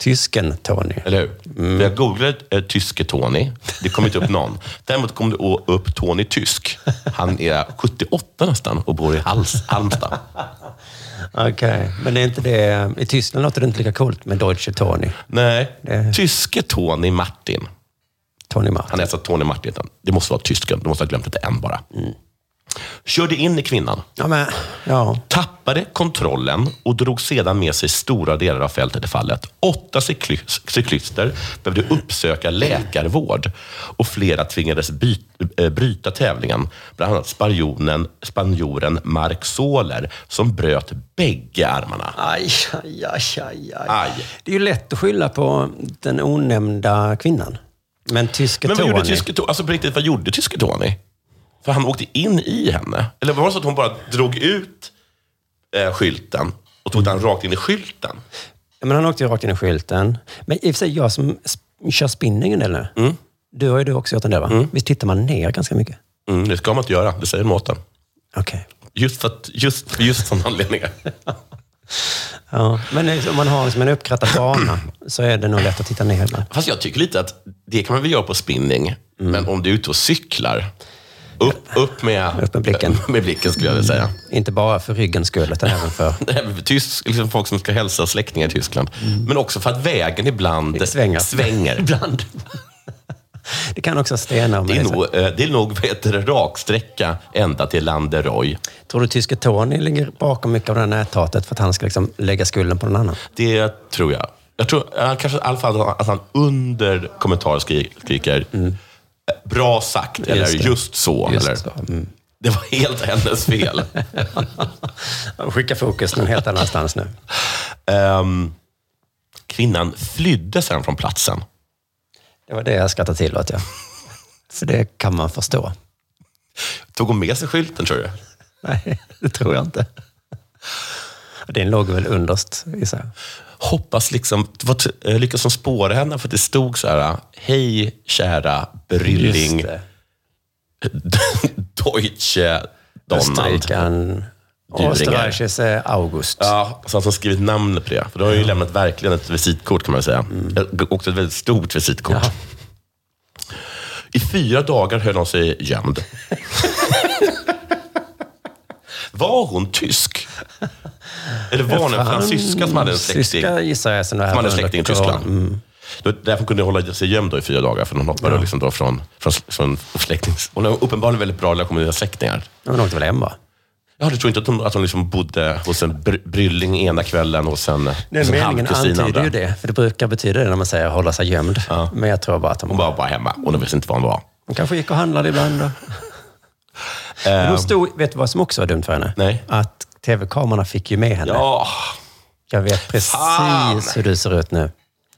Speaker 2: Tysken Tony.
Speaker 5: Eller hur? Jag googlade eh, tyske Tony. Det kom inte upp någon. Däremot kom det å- upp Tony Tysk. Han är 78 nästan och bor i Hals, Halmstad.
Speaker 2: Okej, men det är inte det... I Tyskland låter det inte lika coolt med Deutsche Tony.
Speaker 5: Nej,
Speaker 2: Det-
Speaker 5: tyske Tony Martin.
Speaker 2: Tony Martin.
Speaker 5: Han är alltså Tony Martin. Det måste vara tysken. Du måste ha glömt att det är en bara. Körde in i kvinnan,
Speaker 2: Ja, men... Ja.
Speaker 5: tappade kontrollen och drog sedan med sig stora delar av fältet i fallet. Åtta cykly- cyklister behövde uppsöka läkarvård och flera tvingades by- eh, bryta tävlingen. Bland annat spanjonen, spanjoren Mark Soler som bröt bägge armarna.
Speaker 2: Aj, aj, aj, aj,
Speaker 5: Aj.
Speaker 2: Det är ju lätt att skylla på den onämnda kvinnan. Men Tyske
Speaker 5: Men vad
Speaker 2: Tony...
Speaker 5: gjorde tyske Tony? Alltså på riktigt, vad gjorde tyske Tony? För han åkte in i henne. Eller var det så att hon bara drog ut eh, skylten Och tog den rakt in i skylten.
Speaker 2: Ja, men han åkte ju rakt in i skylten. Men i och för sig, jag som sp- kör spinning en del nu. Du har ju du också gjort en del va? Visst tittar man ner ganska mycket?
Speaker 5: Mm, det ska man inte göra, det säger måten.
Speaker 2: Okej.
Speaker 5: Just för att, just, för just sådana anledningar.
Speaker 2: Ja. Men eh, om man har liksom en uppkrattad bana så är det nog lätt att titta ner ibland.
Speaker 5: Fast jag tycker lite att det kan man väl göra på spinning, men om du är ute och cyklar, upp, upp, med,
Speaker 2: Upp med blicken.
Speaker 5: med blicken skulle jag vilja säga.
Speaker 2: Inte bara för ryggens skull, utan även för...
Speaker 5: Det här med tysk, liksom folk som ska hälsa släktingar i Tyskland. Men också för att vägen ibland
Speaker 2: Svänger.
Speaker 5: svänger.
Speaker 2: Mm. Ibland. Det kan också stena om
Speaker 5: Det
Speaker 2: det
Speaker 5: är
Speaker 2: är så.
Speaker 5: nog, eh, det är nog vad heter det, raksträcka ända till Landeroy.
Speaker 2: Tror du tyske Tony ligger bakom mycket av det här näthatet för att han ska liksom lägga skulden på någon annan?
Speaker 5: Det tror jag. Jag tror eh, kanske i alla fall att han under kommentarer skri- skriker eh, bra sagt, eller
Speaker 2: Just
Speaker 5: just,
Speaker 2: det.
Speaker 5: så.
Speaker 2: Just
Speaker 5: eller,
Speaker 2: så, mm.
Speaker 5: Det var helt hennes fel.
Speaker 2: Skicka fokus någon helt annanstans nu.
Speaker 5: Ehm, kvinnan flydde sen från platsen.
Speaker 2: Det var det jag skrattade till åt, ja. Så det kan man förstå.
Speaker 5: Tog hon med sig skylten, tror du?
Speaker 2: Nej, det tror jag inte. Den låg väl underst, gissar jag.
Speaker 5: Hoppas liksom, det var t- eh, lyckas som spåra henne, för att det stod så här, hej kära Brylling
Speaker 2: Just det.
Speaker 5: Deutsche Donald.
Speaker 2: Österrikaren.
Speaker 5: Düringer.
Speaker 2: Österreiches eh, August.
Speaker 5: Ja, så han som skrivit namnet på det. För då har jag ju lämnat verkligen ett visitkort kan man säga. Mm. Också ett väldigt stort visitkort.
Speaker 2: Ja.
Speaker 5: I fyra dagar höll hon sig gömd. var hon tysk? Eller var hon en fransyska Mm. som hade en släkting?
Speaker 2: Syska gissar jag. Som
Speaker 5: Som hade en släkting i Tyskland. Då, därför kunde hon hålla sig gömd då i fyra dagar, för hon hoppade liksom då från, från, från släktings... Hon har uppenbarligen väldigt bra relation med sina släktingar.
Speaker 2: Hon åkte väl hem, va?
Speaker 5: Ja, du tror inte att hon, att hon liksom bodde hos en br- brylling ena kvällen och sen hos
Speaker 2: Den
Speaker 5: en
Speaker 2: meningen
Speaker 5: halvkusin
Speaker 2: antyder
Speaker 5: andra.
Speaker 2: ju det. För det brukar betyda det när man säger hålla sig gömd. Men jag tror bara att hon,
Speaker 5: Hon var bara hemma. Hon visste inte var hon var.
Speaker 2: hon kanske gick och handlade ibland. Då. Men hon stod, vet du vad som också var dumt för henne?
Speaker 5: Ehm. Nej.
Speaker 2: Att tv-kamerorna fick ju med henne.
Speaker 5: Ja,
Speaker 2: Jag vet precis
Speaker 5: Fan!
Speaker 2: hur du ser ut nu.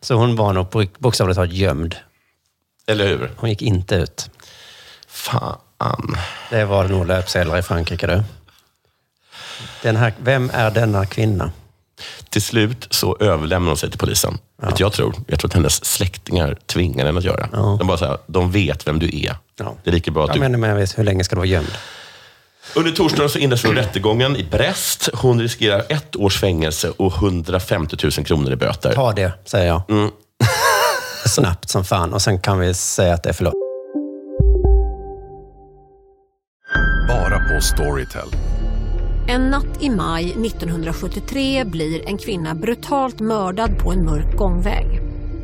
Speaker 2: Så hon var nog på- bokstavligt talat gömd.
Speaker 5: eller hur?
Speaker 2: Hon gick inte ut.
Speaker 5: Fan.
Speaker 2: Det var nog löpsedlar i Frankrike du. Den här, vem är denna kvinna?
Speaker 5: Till slut så överlämnade hon sig till polisen. Vet du, jag tror jag tror att hennes släktingar tvingade henne att göra. De bara så här, de vet vem du är.
Speaker 2: Ja.
Speaker 5: Det är lika bra att
Speaker 2: Jag
Speaker 5: du...
Speaker 2: menar med visst, hur länge ska du vara gömd?
Speaker 5: Under torsdagen så inleds nu rättegången i Brest. Hon riskerar ett års fängelse och 150 000 kronor i böter.
Speaker 2: Ta det, säger jag.
Speaker 5: Mm.
Speaker 2: Snabbt som fan. Och sen kan vi säga att det är förlåt.
Speaker 6: Bara på Storytel.
Speaker 8: En natt i maj 1973 blir en kvinna brutalt mördad på en mörk gångväg.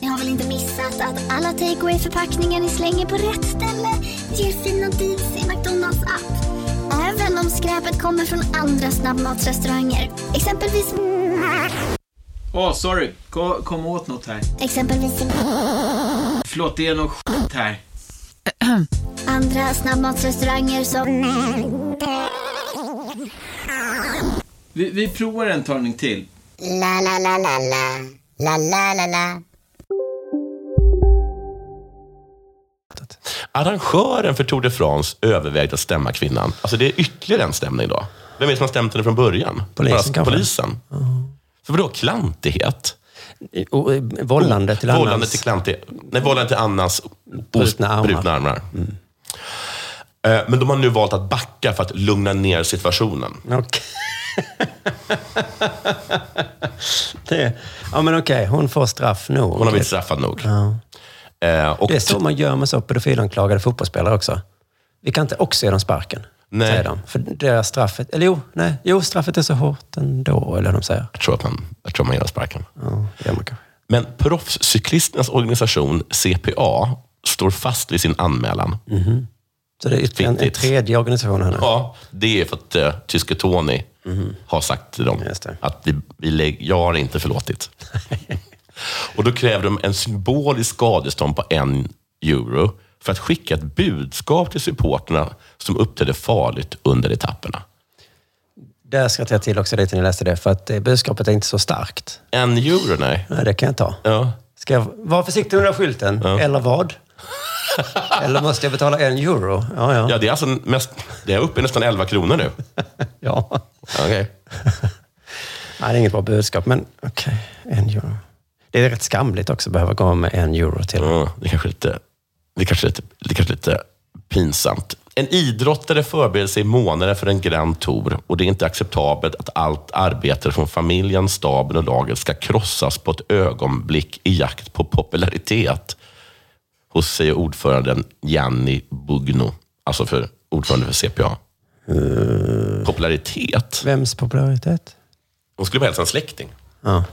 Speaker 9: Ni har väl inte missat att alla takeaway förpackningar ni slänger på rätt ställe ger fina deals i McDonalds app. Även om skräpet kommer från andra snabbmatsrestauranger. Exempelvis...
Speaker 10: Åh, sorry. Kom, kom åt något här.
Speaker 9: Exempelvis...
Speaker 10: Förlåt, det är något skit här.
Speaker 9: Andra snabbmatsrestauranger som...
Speaker 10: Vi, vi provar en talning till.
Speaker 9: La, la, la, la, la. La, la, la, la.
Speaker 5: Arrangören för Tour de France övervägde att stämma kvinnan. Alltså det är ytterligare en stämning då. Vem är det som har stämt henne från början?
Speaker 2: Polisen
Speaker 5: Bara-
Speaker 2: kanske?
Speaker 5: Polisen. För vadå klantighet?
Speaker 2: I- och- i- Vållande till
Speaker 5: Oh, vållande
Speaker 2: annans.
Speaker 5: Till klantighet. Nej, vållande till annans
Speaker 2: Brutna armar. Mm.
Speaker 5: brutna armar. Eh, Men de har nu valt att backa för att lugna ner situationen.
Speaker 2: Okej. det, ja, men okej. Hon får straff nog.
Speaker 5: Hon har blivit straffad nog. Eh, och
Speaker 2: Det är så man gör med så pedofilanklagade fotbollsspelare också. Vi kan inte också ge dem sparken.
Speaker 5: Nej.
Speaker 2: Säger de. För deras straffet... Eller jo, nej. Jo, straffet är så hårt ändå, eller vad de säger.
Speaker 5: jag, tror att man, jag tror man gör sparken.
Speaker 2: Ja, det gör man kanske.
Speaker 5: Men proffscyklisternas organisation CPA står fast vid sin anmälan.
Speaker 2: Så det är ytterligare en, en
Speaker 5: Fittigt.
Speaker 2: tredje organisation här nu.
Speaker 5: Ja, det är för att eh, tyske Tony har sagt till dem
Speaker 2: Just det.
Speaker 5: att vi, vi lä- jag har inte förlåtit. Och då krävde de en symbolisk skadestånd på en euro för att skicka ett budskap till supporterna som uppträdde farligt under etapperna.
Speaker 2: Där skrattade jag till också lite när jag läste det, för att eh, budskapet är inte så starkt.
Speaker 5: En euro, nej.
Speaker 2: Nej, det kan jag ta.
Speaker 5: Ja.
Speaker 2: Ska jag vara försiktig med den där skylten? Eller vad? Eller måste jag betala en euro? Ja, ja.
Speaker 5: Ja, det är alltså mest, det är uppe i nästan 11 kronor nu.
Speaker 2: ja.
Speaker 5: Okej.
Speaker 2: Nej, det är inget bra budskap, men okej. En euro. Det är rätt skamligt också att behöva gå med en euro till.
Speaker 5: Ja, det kanske lite, det kanske lite, det kanske lite pinsamt. En idrottare förbereder sig i månader för en Grand Tour och det är inte acceptabelt att allt arbete från familjen, staben och laget ska krossas på ett ögonblick i jakt på popularitet hos, säger ordföranden Janni Bugno, alltså för ordförande för CPA. Popularitet?
Speaker 2: Vems popularitet?
Speaker 5: Hon skulle bara hälsa en släkting.
Speaker 2: Ja.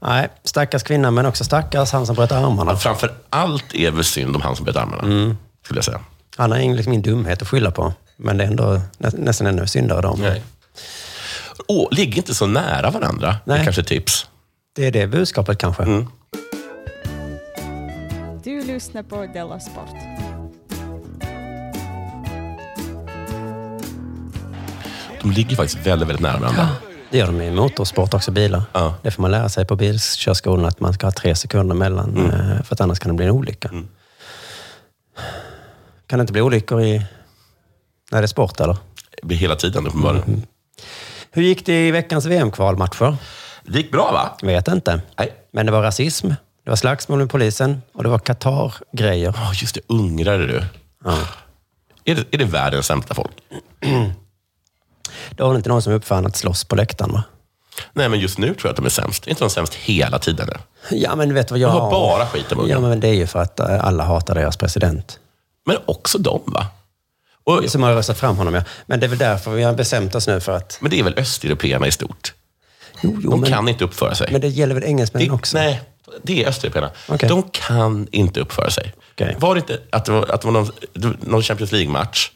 Speaker 2: Nej, stackars kvinna, men också stackars han som bröt armarna.
Speaker 5: Framför allt är det väl synd om han som bet armarna, skulle jag säga.
Speaker 2: Han har ingen, liksom ingen dumhet att skylla på, men det är ändå nä, nästan ännu syndare dem.
Speaker 5: Nej. Åh, ligg inte så nära varandra. Det är kanske är tips.
Speaker 2: Det är det budskapet kanske.
Speaker 11: Du lyssnar på Della Sport.
Speaker 5: De ligger faktiskt väldigt, väldigt nära varandra.
Speaker 2: Det gör de i motorsport också, bilar. Det får man lära sig på bilkörskolan, att man ska ha tre sekunder mellan, eh, för att annars kan det bli en olycka. Kan det inte bli olyckor i, när det är sport eller?
Speaker 5: Det blir hela tiden uppenbarligen.
Speaker 2: Mm. Hur gick det i veckans VM-kvalmatcher?
Speaker 5: Det gick bra va?
Speaker 2: Vet inte.
Speaker 5: Nej.
Speaker 2: Men det var rasism, det var slagsmål med polisen och det var Qatar-grejer.
Speaker 5: Ja, just det. Ungrare du.
Speaker 2: Ja.
Speaker 5: Är, det, är det världens sämsta folk?
Speaker 2: Det var väl inte någon som uppfann att slåss på läktaren va?
Speaker 5: Nej, men just nu tror jag att de är sämst. Är inte de sämst hela tiden? nu?
Speaker 2: Ja men vet du vad jag...
Speaker 5: De har bara skit i munnen.
Speaker 2: Ja men det är ju för att eh, alla hatar deras president.
Speaker 5: Men också de va? Och,
Speaker 2: Som har röstat fram honom ja. Men det är väl därför vi har bestämt oss nu för att...
Speaker 5: men det är väl östeuropeerna i stort?
Speaker 2: Jo, jo,
Speaker 5: De
Speaker 2: men,
Speaker 5: kan inte uppföra sig.
Speaker 2: men det gäller väl engelsmännen
Speaker 5: Det-
Speaker 2: också?
Speaker 5: Nej, det är östeuropeerna.
Speaker 2: Okej.
Speaker 5: De kan inte uppföra sig.
Speaker 2: Okej.
Speaker 5: Var det inte att det var, att det var någon, någon Champions League-match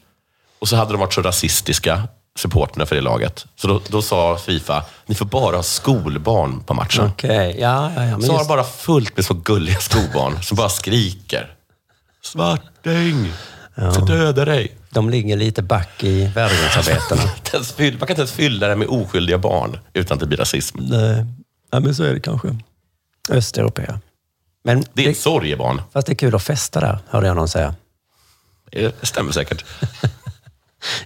Speaker 5: och så hade de varit så rasistiska, supporterna för det laget. Så då, då sa Fifa, ni får bara ha skolbarn på matchen.
Speaker 2: Okej, ja, ja, ja. Men
Speaker 5: så har
Speaker 2: just,
Speaker 5: de bara fullt med så gulliga skolbarn som bara skriker. Svarting! Jag ska döda dig!
Speaker 2: de ligger lite back i värdegrundsarbetena.
Speaker 5: Inte ens fyll- Man kan inte ens fylla det med oskyldiga barn utan att det blir rasism.
Speaker 2: nej, eh, ja, men så är det kanske. Östeuropéer. Men
Speaker 5: Det är ett sorgebarn.
Speaker 2: fast det är kul att festa där, hörde jag någon säga.
Speaker 5: Det stämmer säkert.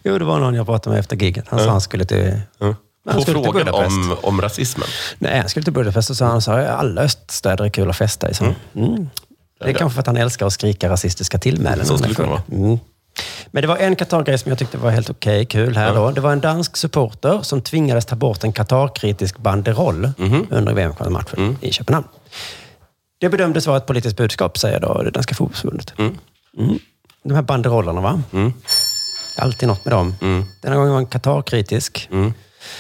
Speaker 2: Jo, det var någon jag pratade med efter giget. Han sa han skulle till...
Speaker 5: På
Speaker 2: skulle till
Speaker 5: frågan
Speaker 2: Budapest.
Speaker 5: om, om rasismen.
Speaker 2: Nej, han skulle till Budapest och sa han sa alla öststäder är kul att festa i. Så. Mm. Det är kanske för att han älskar att skrika rasistiska tillmälen.
Speaker 5: Så
Speaker 2: när han är
Speaker 5: skulle det
Speaker 2: full. Mm. Men det var en Qatar-grej som jag tyckte var helt okej, kul här då. Det var en dansk supporter som tvingades ta bort en Qatar-kritisk banderoll under VM-matchen i Köpenhamn. Det bedömdes vara ett politiskt budskap, säger då det danska fotbollsförbundet. Mm. De här banderollerna, va? Alltid något med dem. Mm. Denna gången var en Qatar-kritisk.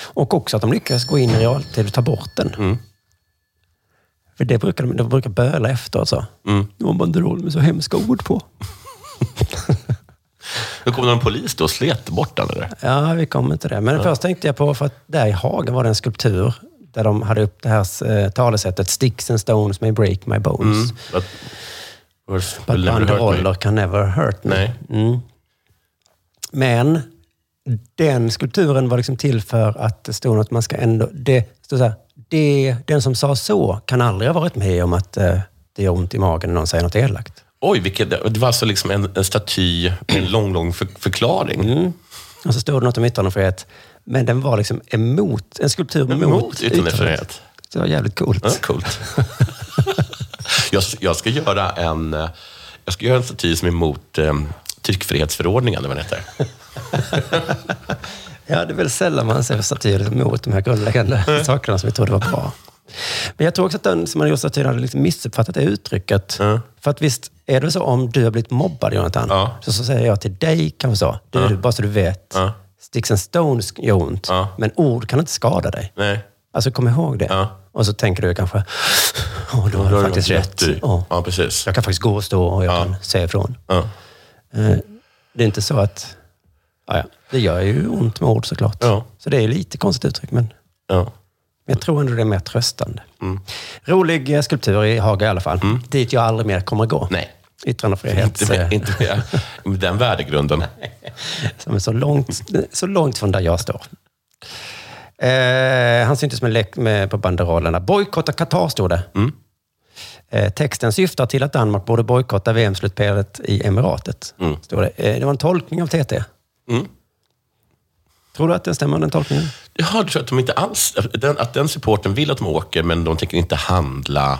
Speaker 2: Och också att de lyckades gå in i realtid och ta bort den. För det brukar de, de brukar böla alltså. efteråt. Så. Det var en banderoll med så hemska ord på.
Speaker 5: Då kom någon polis då och slet bort den eller?
Speaker 2: Ja, vi kommer till det. Men först tänkte jag på, för att där i Hagen var det en skulptur där de hade upp det här eh, talesättet “Sticks and stones may break my bones,
Speaker 5: Att- Varför-
Speaker 2: but
Speaker 5: Never hurt me.
Speaker 2: banderoller can never hurt me”.
Speaker 5: Nej.
Speaker 2: Mm. Men den skulpturen var liksom till för att det stod att man ska ändå... Det stod så här, det, den som sa så kan aldrig ha varit med om att eh, det gör ont i magen när någon säger något elakt.
Speaker 5: Oj, vilket, det var alltså liksom en, en staty med en lång, lång för, förklaring.
Speaker 2: Mm, Och så stod det något om yttrandefrihet, men den var liksom emot, en skulptur mot,
Speaker 5: Mot yttrandefrihet.
Speaker 2: Det var jävligt coolt.
Speaker 5: Ja, coolt. jag, jag ska göra en eh, jag ska göra en staty som är mot eh, tryckfrihetsförordningen, eller vad den heter.
Speaker 2: Ja, det är väl sällan man ser statyer mot de här grundläggande sakerna som vi trodde var bra. Men jag tror också att den som har gjort statyn hade liksom missuppfattat det uttrycket. För att visst är det så om du har blivit mobbad, Jonathan,
Speaker 5: Ja.
Speaker 2: så, så säger jag till dig kanske så. Du, du, bara så du vet.
Speaker 5: Ja.
Speaker 2: Sticks and stones gör ont,
Speaker 5: Ja.
Speaker 2: men ord kan inte skada dig.
Speaker 5: Nej.
Speaker 2: Alltså kom ihåg det.
Speaker 5: Ja.
Speaker 2: Och så tänker du kanske, åh, då har
Speaker 5: Då
Speaker 2: du
Speaker 5: har
Speaker 2: faktiskt
Speaker 5: du
Speaker 2: rätt.
Speaker 5: rätt i.
Speaker 2: Ja.
Speaker 5: Ja, precis.
Speaker 2: Jag kan faktiskt gå och stå och jag
Speaker 5: Ja.
Speaker 2: kan säga ifrån.
Speaker 5: Ja.
Speaker 2: Eh, Det är inte så att... Ja, ja. Det gör ju ont med ord såklart.
Speaker 5: Ja.
Speaker 2: Så det är lite konstigt uttryck, men
Speaker 5: Ja.
Speaker 2: men Jag tror ändå det är mer tröstande.
Speaker 5: Mm.
Speaker 2: Rolig eh, skulptur i Haga i alla fall. Dit jag aldrig mer kommer gå.
Speaker 5: Nej.
Speaker 2: Yttrandefrihet.
Speaker 5: Inte med, inte med, med den värdegrunden.
Speaker 2: Som är så långt, så långt från där jag står. Eh, han syntes med, läck- med på banderollerna. Bojkotta Qatar, stod det. Eh, texten syftar till att Danmark borde bojkotta VM-slutspelet i emiratet. Stod det. Eh, det var en tolkning av TT.
Speaker 5: Mm.
Speaker 2: Tror du att den stämmer, den tolkningen?
Speaker 5: Jag hörde att de inte alls, den, att den supporten vill att de åker, men de tänker inte handla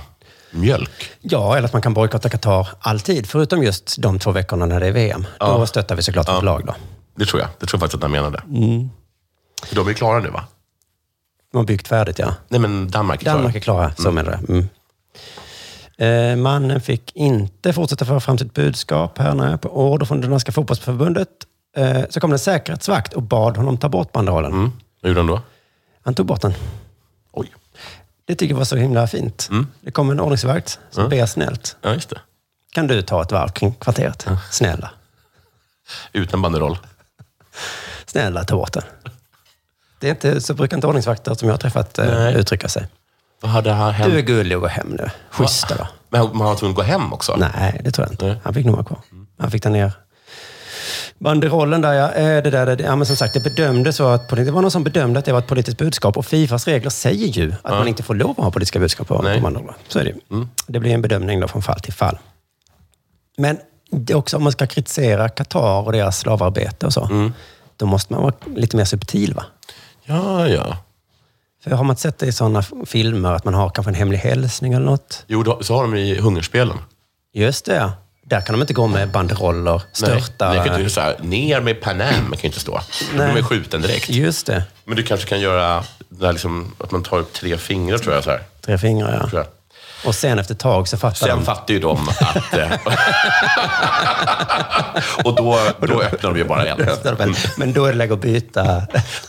Speaker 5: mjölk.
Speaker 2: Ja, eller att man kan bojkotta Qatar alltid, förutom just de två veckorna när det är VM. Då stöttar vi såklart vårt lag. Då.
Speaker 5: Det tror jag. Det tror jag faktiskt att han menade.
Speaker 2: Mm.
Speaker 5: För de är klara nu, va?
Speaker 2: De har byggt färdigt, ja.
Speaker 5: Nej, men Danmark är klara.
Speaker 2: Danmark är klara, så menar jag. Mm. Eh, mannen fick inte fortsätta föra fram sitt budskap här när på order från det danska fotbollsförbundet. Eh, så kom det en säkerhetsvakt och bad honom ta bort banderollen.
Speaker 5: Mm. Vad gjorde han då?
Speaker 2: Han tog bort den.
Speaker 5: Oj.
Speaker 2: Det tycker jag var så himla fint. Det kom en ordningsvakt som ber snällt.
Speaker 5: Ja, just det.
Speaker 2: Kan du ta ett varv kring kvarteret? Snälla.
Speaker 5: Utan banderoll.
Speaker 2: Snälla, ta bort den. Det är inte, så brukar inte ordningsvakter som jag har träffat eh,
Speaker 5: Nej.
Speaker 2: uttrycka sig.
Speaker 5: Vad hade han hänt?
Speaker 2: Du är gullig och gå hem nu. Schyssta då.
Speaker 5: Men man var tvungen att gå hem också?
Speaker 2: Nej, det tror jag inte. Han fick nog vara kvar.
Speaker 5: Mm.
Speaker 2: Han fick ta ner banderollen där. Ja, Eh, det där det, ja, men som sagt, det bedömdes vara ett, politi- det var någon som bedömde att det var ett politiskt budskap. Och Fifas regler säger ju att man inte får lov att ha politiska budskap på, på banderollen. Så är det ju.
Speaker 5: Mm.
Speaker 2: Det blir en bedömning då från fall till fall. Men det är också om man ska kritisera Qatar och deras slavarbete och så.
Speaker 5: Mm.
Speaker 2: Då måste man vara lite mer subtil va?
Speaker 5: Ja, ja.
Speaker 2: För har man inte sett det i sådana filmer, att man har kanske en hemlig hälsning eller något?
Speaker 5: Jo, då, så har de i hungerspelen.
Speaker 2: Just det, ja. Där kan de inte gå med banderoller, störta...
Speaker 5: Nej, det kan ju inte så här, ner med Panem kan ju inte stå.
Speaker 2: Nej.
Speaker 5: De är skjuten direkt.
Speaker 2: Just det.
Speaker 5: Men du kanske kan göra det här liksom, att man tar upp tre fingrar, tror jag. Så här.
Speaker 2: Tre fingrar,
Speaker 5: Tror
Speaker 2: ja.
Speaker 5: jag.
Speaker 2: Och sen efter ett tag så fattar
Speaker 5: Sen
Speaker 2: de.
Speaker 5: fattar ju de att... eh, och då, då öppnar de ju bara en.
Speaker 2: Öppnar de en. Men då är det läge att byta.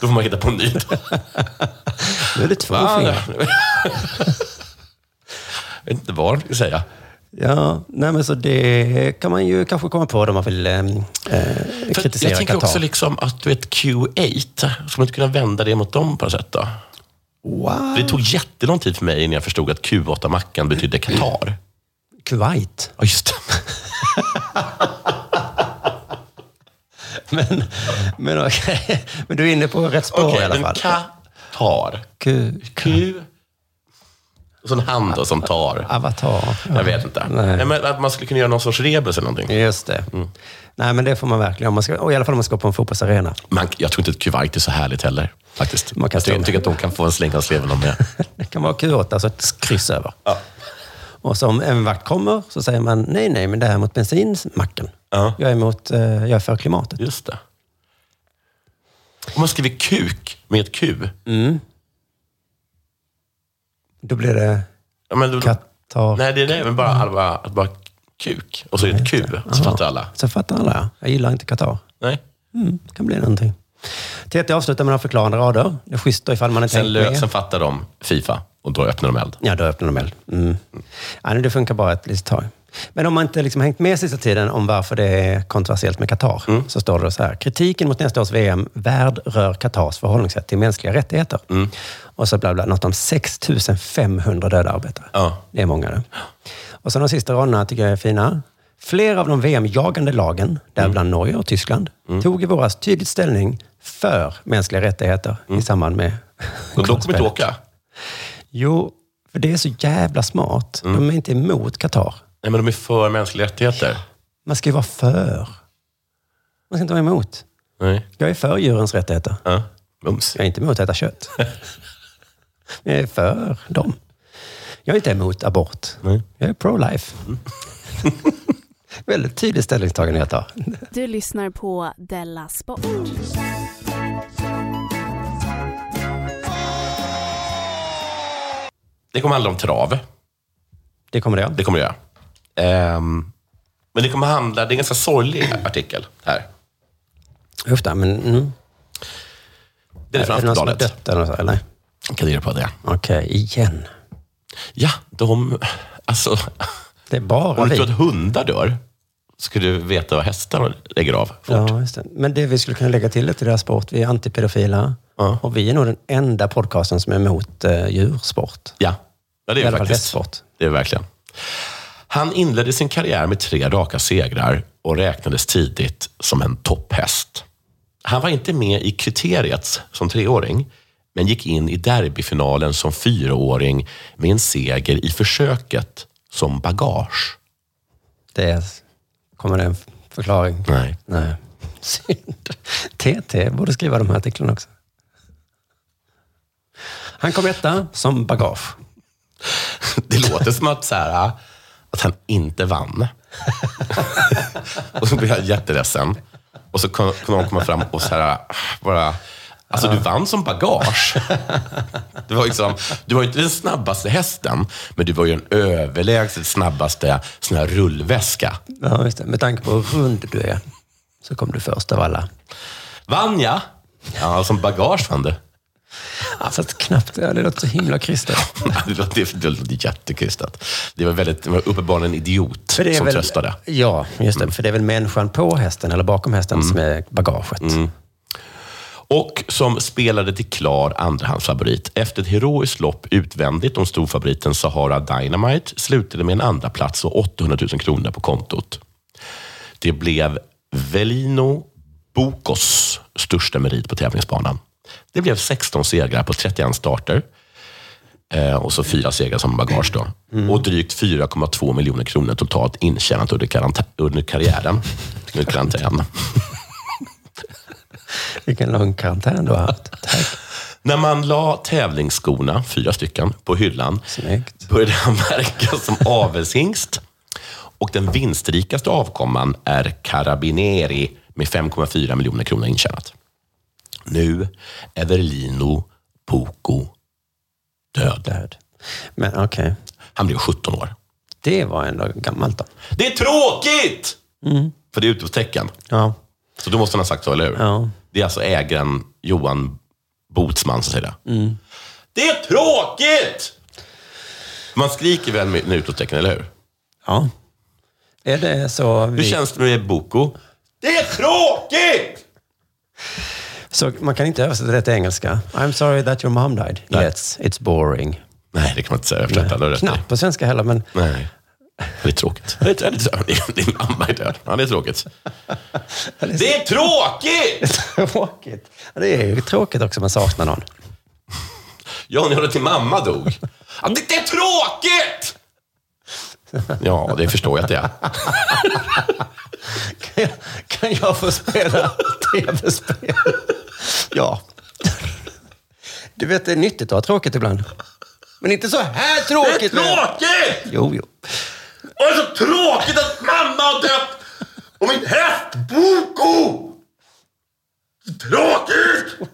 Speaker 5: Då får man hitta på en ny.
Speaker 2: Nu är det två
Speaker 5: Va?
Speaker 2: fingrar.
Speaker 5: Jag vet inte vad de skulle säga.
Speaker 2: Ja, nej men så det kan man ju kanske komma på om man vill eh, eh,
Speaker 5: För
Speaker 2: kritisera
Speaker 5: jag tänker
Speaker 2: Qatar.
Speaker 5: också liksom att du vet, Q8, ska man inte kunna vända det mot dem på något sätt? Då?
Speaker 2: Wow.
Speaker 5: Det tog jättelång tid för mig innan jag förstod att Q8-mackan betydde Qatar.
Speaker 2: Kuwait.
Speaker 5: Ja, just det.
Speaker 2: Men, men, okej. men du är inne på rätt spår i
Speaker 5: Okej,
Speaker 2: alla
Speaker 5: men
Speaker 2: fall.
Speaker 5: Qatar.
Speaker 2: Ku,
Speaker 5: Q... Och så en hand då, som tar.
Speaker 2: avatar.
Speaker 5: Jag vet inte.
Speaker 2: Nej.
Speaker 5: Nej. Men att man skulle kunna göra någon sorts rebus eller någonting.
Speaker 2: Just det.
Speaker 5: Mm.
Speaker 2: Nej, men det får man verkligen. Om man ska, och I alla fall om man ska på en fotbollsarena.
Speaker 5: Man, jag tror inte att Kuwait är så härligt heller. Faktiskt.
Speaker 2: Man kan
Speaker 5: jag, tycker,
Speaker 2: stå
Speaker 5: jag
Speaker 2: med.
Speaker 5: tycker att de kan få en släng av sleven om det.
Speaker 2: Det kan vara Q8, alltså ett kryss över. Och så om en vakt kommer så säger man nej, nej, men det här är mot bensinmacken.
Speaker 5: Ja.
Speaker 2: Jag, är mot, eh, jag är för klimatet.
Speaker 5: Just det. Om man skriver kuk med ett Q,
Speaker 2: Då blir det
Speaker 5: Ja, men, då-
Speaker 2: Qatar. Mm.
Speaker 5: Nej, det är det. Men bara, att bara, att bara kuk. Och så är det ett Q. Så fattar alla.
Speaker 2: Så fattar alla, ja. Jag gillar inte Qatar.
Speaker 5: Nej.
Speaker 2: Mm, det kan bli någonting. TT avslutar med några förklarande rader. Det är schysst då ifall man inte
Speaker 5: Sen,
Speaker 2: tänkt
Speaker 5: lö-
Speaker 2: med.
Speaker 5: sen fattar de Fifa och då öppnar de eld.
Speaker 2: Ja, då öppnar de eld. Mm. Ja, nej, det funkar bara ett litet tag. Men om man inte liksom hängt med sista tiden om varför det är kontroversiellt med Qatar, så står det så här. Kritiken mot nästa års VM värd rör Qatars förhållningssätt till mänskliga rättigheter. Och så bla bla, något om 6 500 döda arbetare.
Speaker 5: Ja.
Speaker 2: Det är många det. Och så de sista raderna tycker jag är fina. Flera av de VM-jagande lagen, däribland Norge och Tyskland, tog i våras tydligt ställning för mänskliga rättigheter i samband med
Speaker 5: Och då kommer vi inte åka.
Speaker 2: Jo, för det är så jävla smart.
Speaker 5: Mm.
Speaker 2: De är inte emot Qatar.
Speaker 5: Nej, men de är för mänskliga rättigheter.
Speaker 2: Man ska ju vara för. Man ska inte vara emot.
Speaker 5: Nej.
Speaker 2: Jag är för djurens rättigheter.
Speaker 5: Ja. Mums.
Speaker 2: Jag är inte emot att äta kött. Jag är för dem. Jag är inte emot abort.
Speaker 5: Nej. Mm.
Speaker 2: Jag är pro-life. Väldigt tydligt ställningstagande jag tar.
Speaker 12: Du lyssnar på Della Sport.
Speaker 5: Det kommer handla om trav.
Speaker 2: Det kommer det, ja.
Speaker 5: Det kommer det göra. Ehm, men det kommer handla... Det är en ganska sorglig artikel här.
Speaker 2: Ufta, men... Mm.
Speaker 5: Det är från
Speaker 2: det någon som har
Speaker 5: Aftonbladet.
Speaker 2: dött eller något sånt, eller?
Speaker 5: Kan du på det?
Speaker 2: Okej, igen.
Speaker 5: Ja, de... Alltså,
Speaker 2: Det är bara
Speaker 5: om du
Speaker 2: vi.
Speaker 5: tror att hundar dör, ska du veta vad hästar lägger av.
Speaker 2: Ja, just det. Men det vi skulle kunna lägga till till deras sport, vi är antipedofila. Och vi är nog den enda podcasten som är emot eh, djursport.
Speaker 5: Ja, ja det
Speaker 2: I
Speaker 5: är
Speaker 2: alla
Speaker 5: det
Speaker 2: fall
Speaker 5: faktiskt.
Speaker 2: hästsport.
Speaker 5: Det är det verkligen. Han inledde sin karriär med tre raka segrar och räknades tidigt som en topphäst. Han var inte med i kriteriet som treåring, men gick in i derbyfinalen som fyraåring med en seger i försöket som bagage.
Speaker 2: Det är, kommer det en förklaring?
Speaker 5: Nej.
Speaker 2: Nej. Synd. TT borde skriva de här artiklarna också. Han kom etta som bagage.
Speaker 5: Det låter som att, så här, att han inte vann. och så blev jag jätteledsen. Och så kom kom någon komma fram och så här, bara, alltså du vann som bagage. Det var liksom, du var ju inte den snabbaste hästen, men du var ju den överlägset snabbaste sån här rullväska.
Speaker 2: Ja, just det. Med tanke på hur rund du är så kom du först av alla.
Speaker 5: Vann jag? Ja, som bagage vann du.
Speaker 2: Ja, fast knappt. Ja, det låter så himla kristet.
Speaker 5: Det låter, det låter jättekristet. Det var, väldigt, det var uppenbarligen en idiot
Speaker 2: För det är
Speaker 5: som Mm.
Speaker 2: väl-
Speaker 5: tröstade.
Speaker 2: Ja, just det. För det är väl människan på hästen eller bakom hästen
Speaker 5: Mm.
Speaker 2: som är bagaget.
Speaker 5: Och som spelade till klar andrahandsfavorit. Efter ett heroiskt lopp utvändigt om storfavoriten Sahara Dynamite slutade med en andra plats och 800 000 kronor på kontot. Det blev Velino Bokos största merit på tävlingsbanan. Det blev 16 segrar på 31 starter. Eh, och så fyra segrar som bagage. Då. Och drygt 4,2 miljoner kronor totalt intjänat under, karanta- under karriären. Under karantän.
Speaker 2: Vilken lång karantän du har haft.
Speaker 5: När man la tävlingsskorna, fyra stycken, på hyllan började han verka som avelshingst. Och den vinstrikaste avkomman är Carabinieri med 5,4 miljoner kronor intjänat. Nu är Verlino Poco död.
Speaker 2: Men okej.
Speaker 5: Han blev 17 år.
Speaker 2: Det var ändå gammalt då.
Speaker 5: Det är tråkigt! För det är utropstecken.
Speaker 2: Ja.
Speaker 5: Så då måste han ha sagt så, eller hur?
Speaker 2: Ja.
Speaker 5: Det är alltså ägaren Johan Botsman som säger det. Det är tråkigt! Man skriker väl med med utropstecken, eller hur?
Speaker 2: Ja. Är det så vi...
Speaker 5: Hur känns det med Boko? Det är tråkigt!
Speaker 2: Så man kan inte översätta det till engelska. I'm sorry that your mom died. Yes, it's boring.
Speaker 5: Nej, det kan man inte säga. Efter detta, då är det rätt.
Speaker 2: Knappt på svenska heller, men
Speaker 5: Nej. Det är tråkigt. Det är, det är, det är, din mamma är död. Ja, det är tråkigt. Det är tråkigt!
Speaker 2: tråkigt. Det är ju tråkigt också, man saknar någon.
Speaker 5: Johnny, hörde till mamma dog. Ja, det, det är tråkigt! Ja, det förstår jag att det är.
Speaker 2: Kan jag, kan jag få spela tv-spel? Ja. Du vet, det är nyttigt att ha tråkigt ibland. Men inte så här tråkigt!
Speaker 5: Det är tråkigt!
Speaker 2: Jo, jo.
Speaker 5: Och det är så tråkigt att mamma har dött! Och min häst Boko! Tråkigt!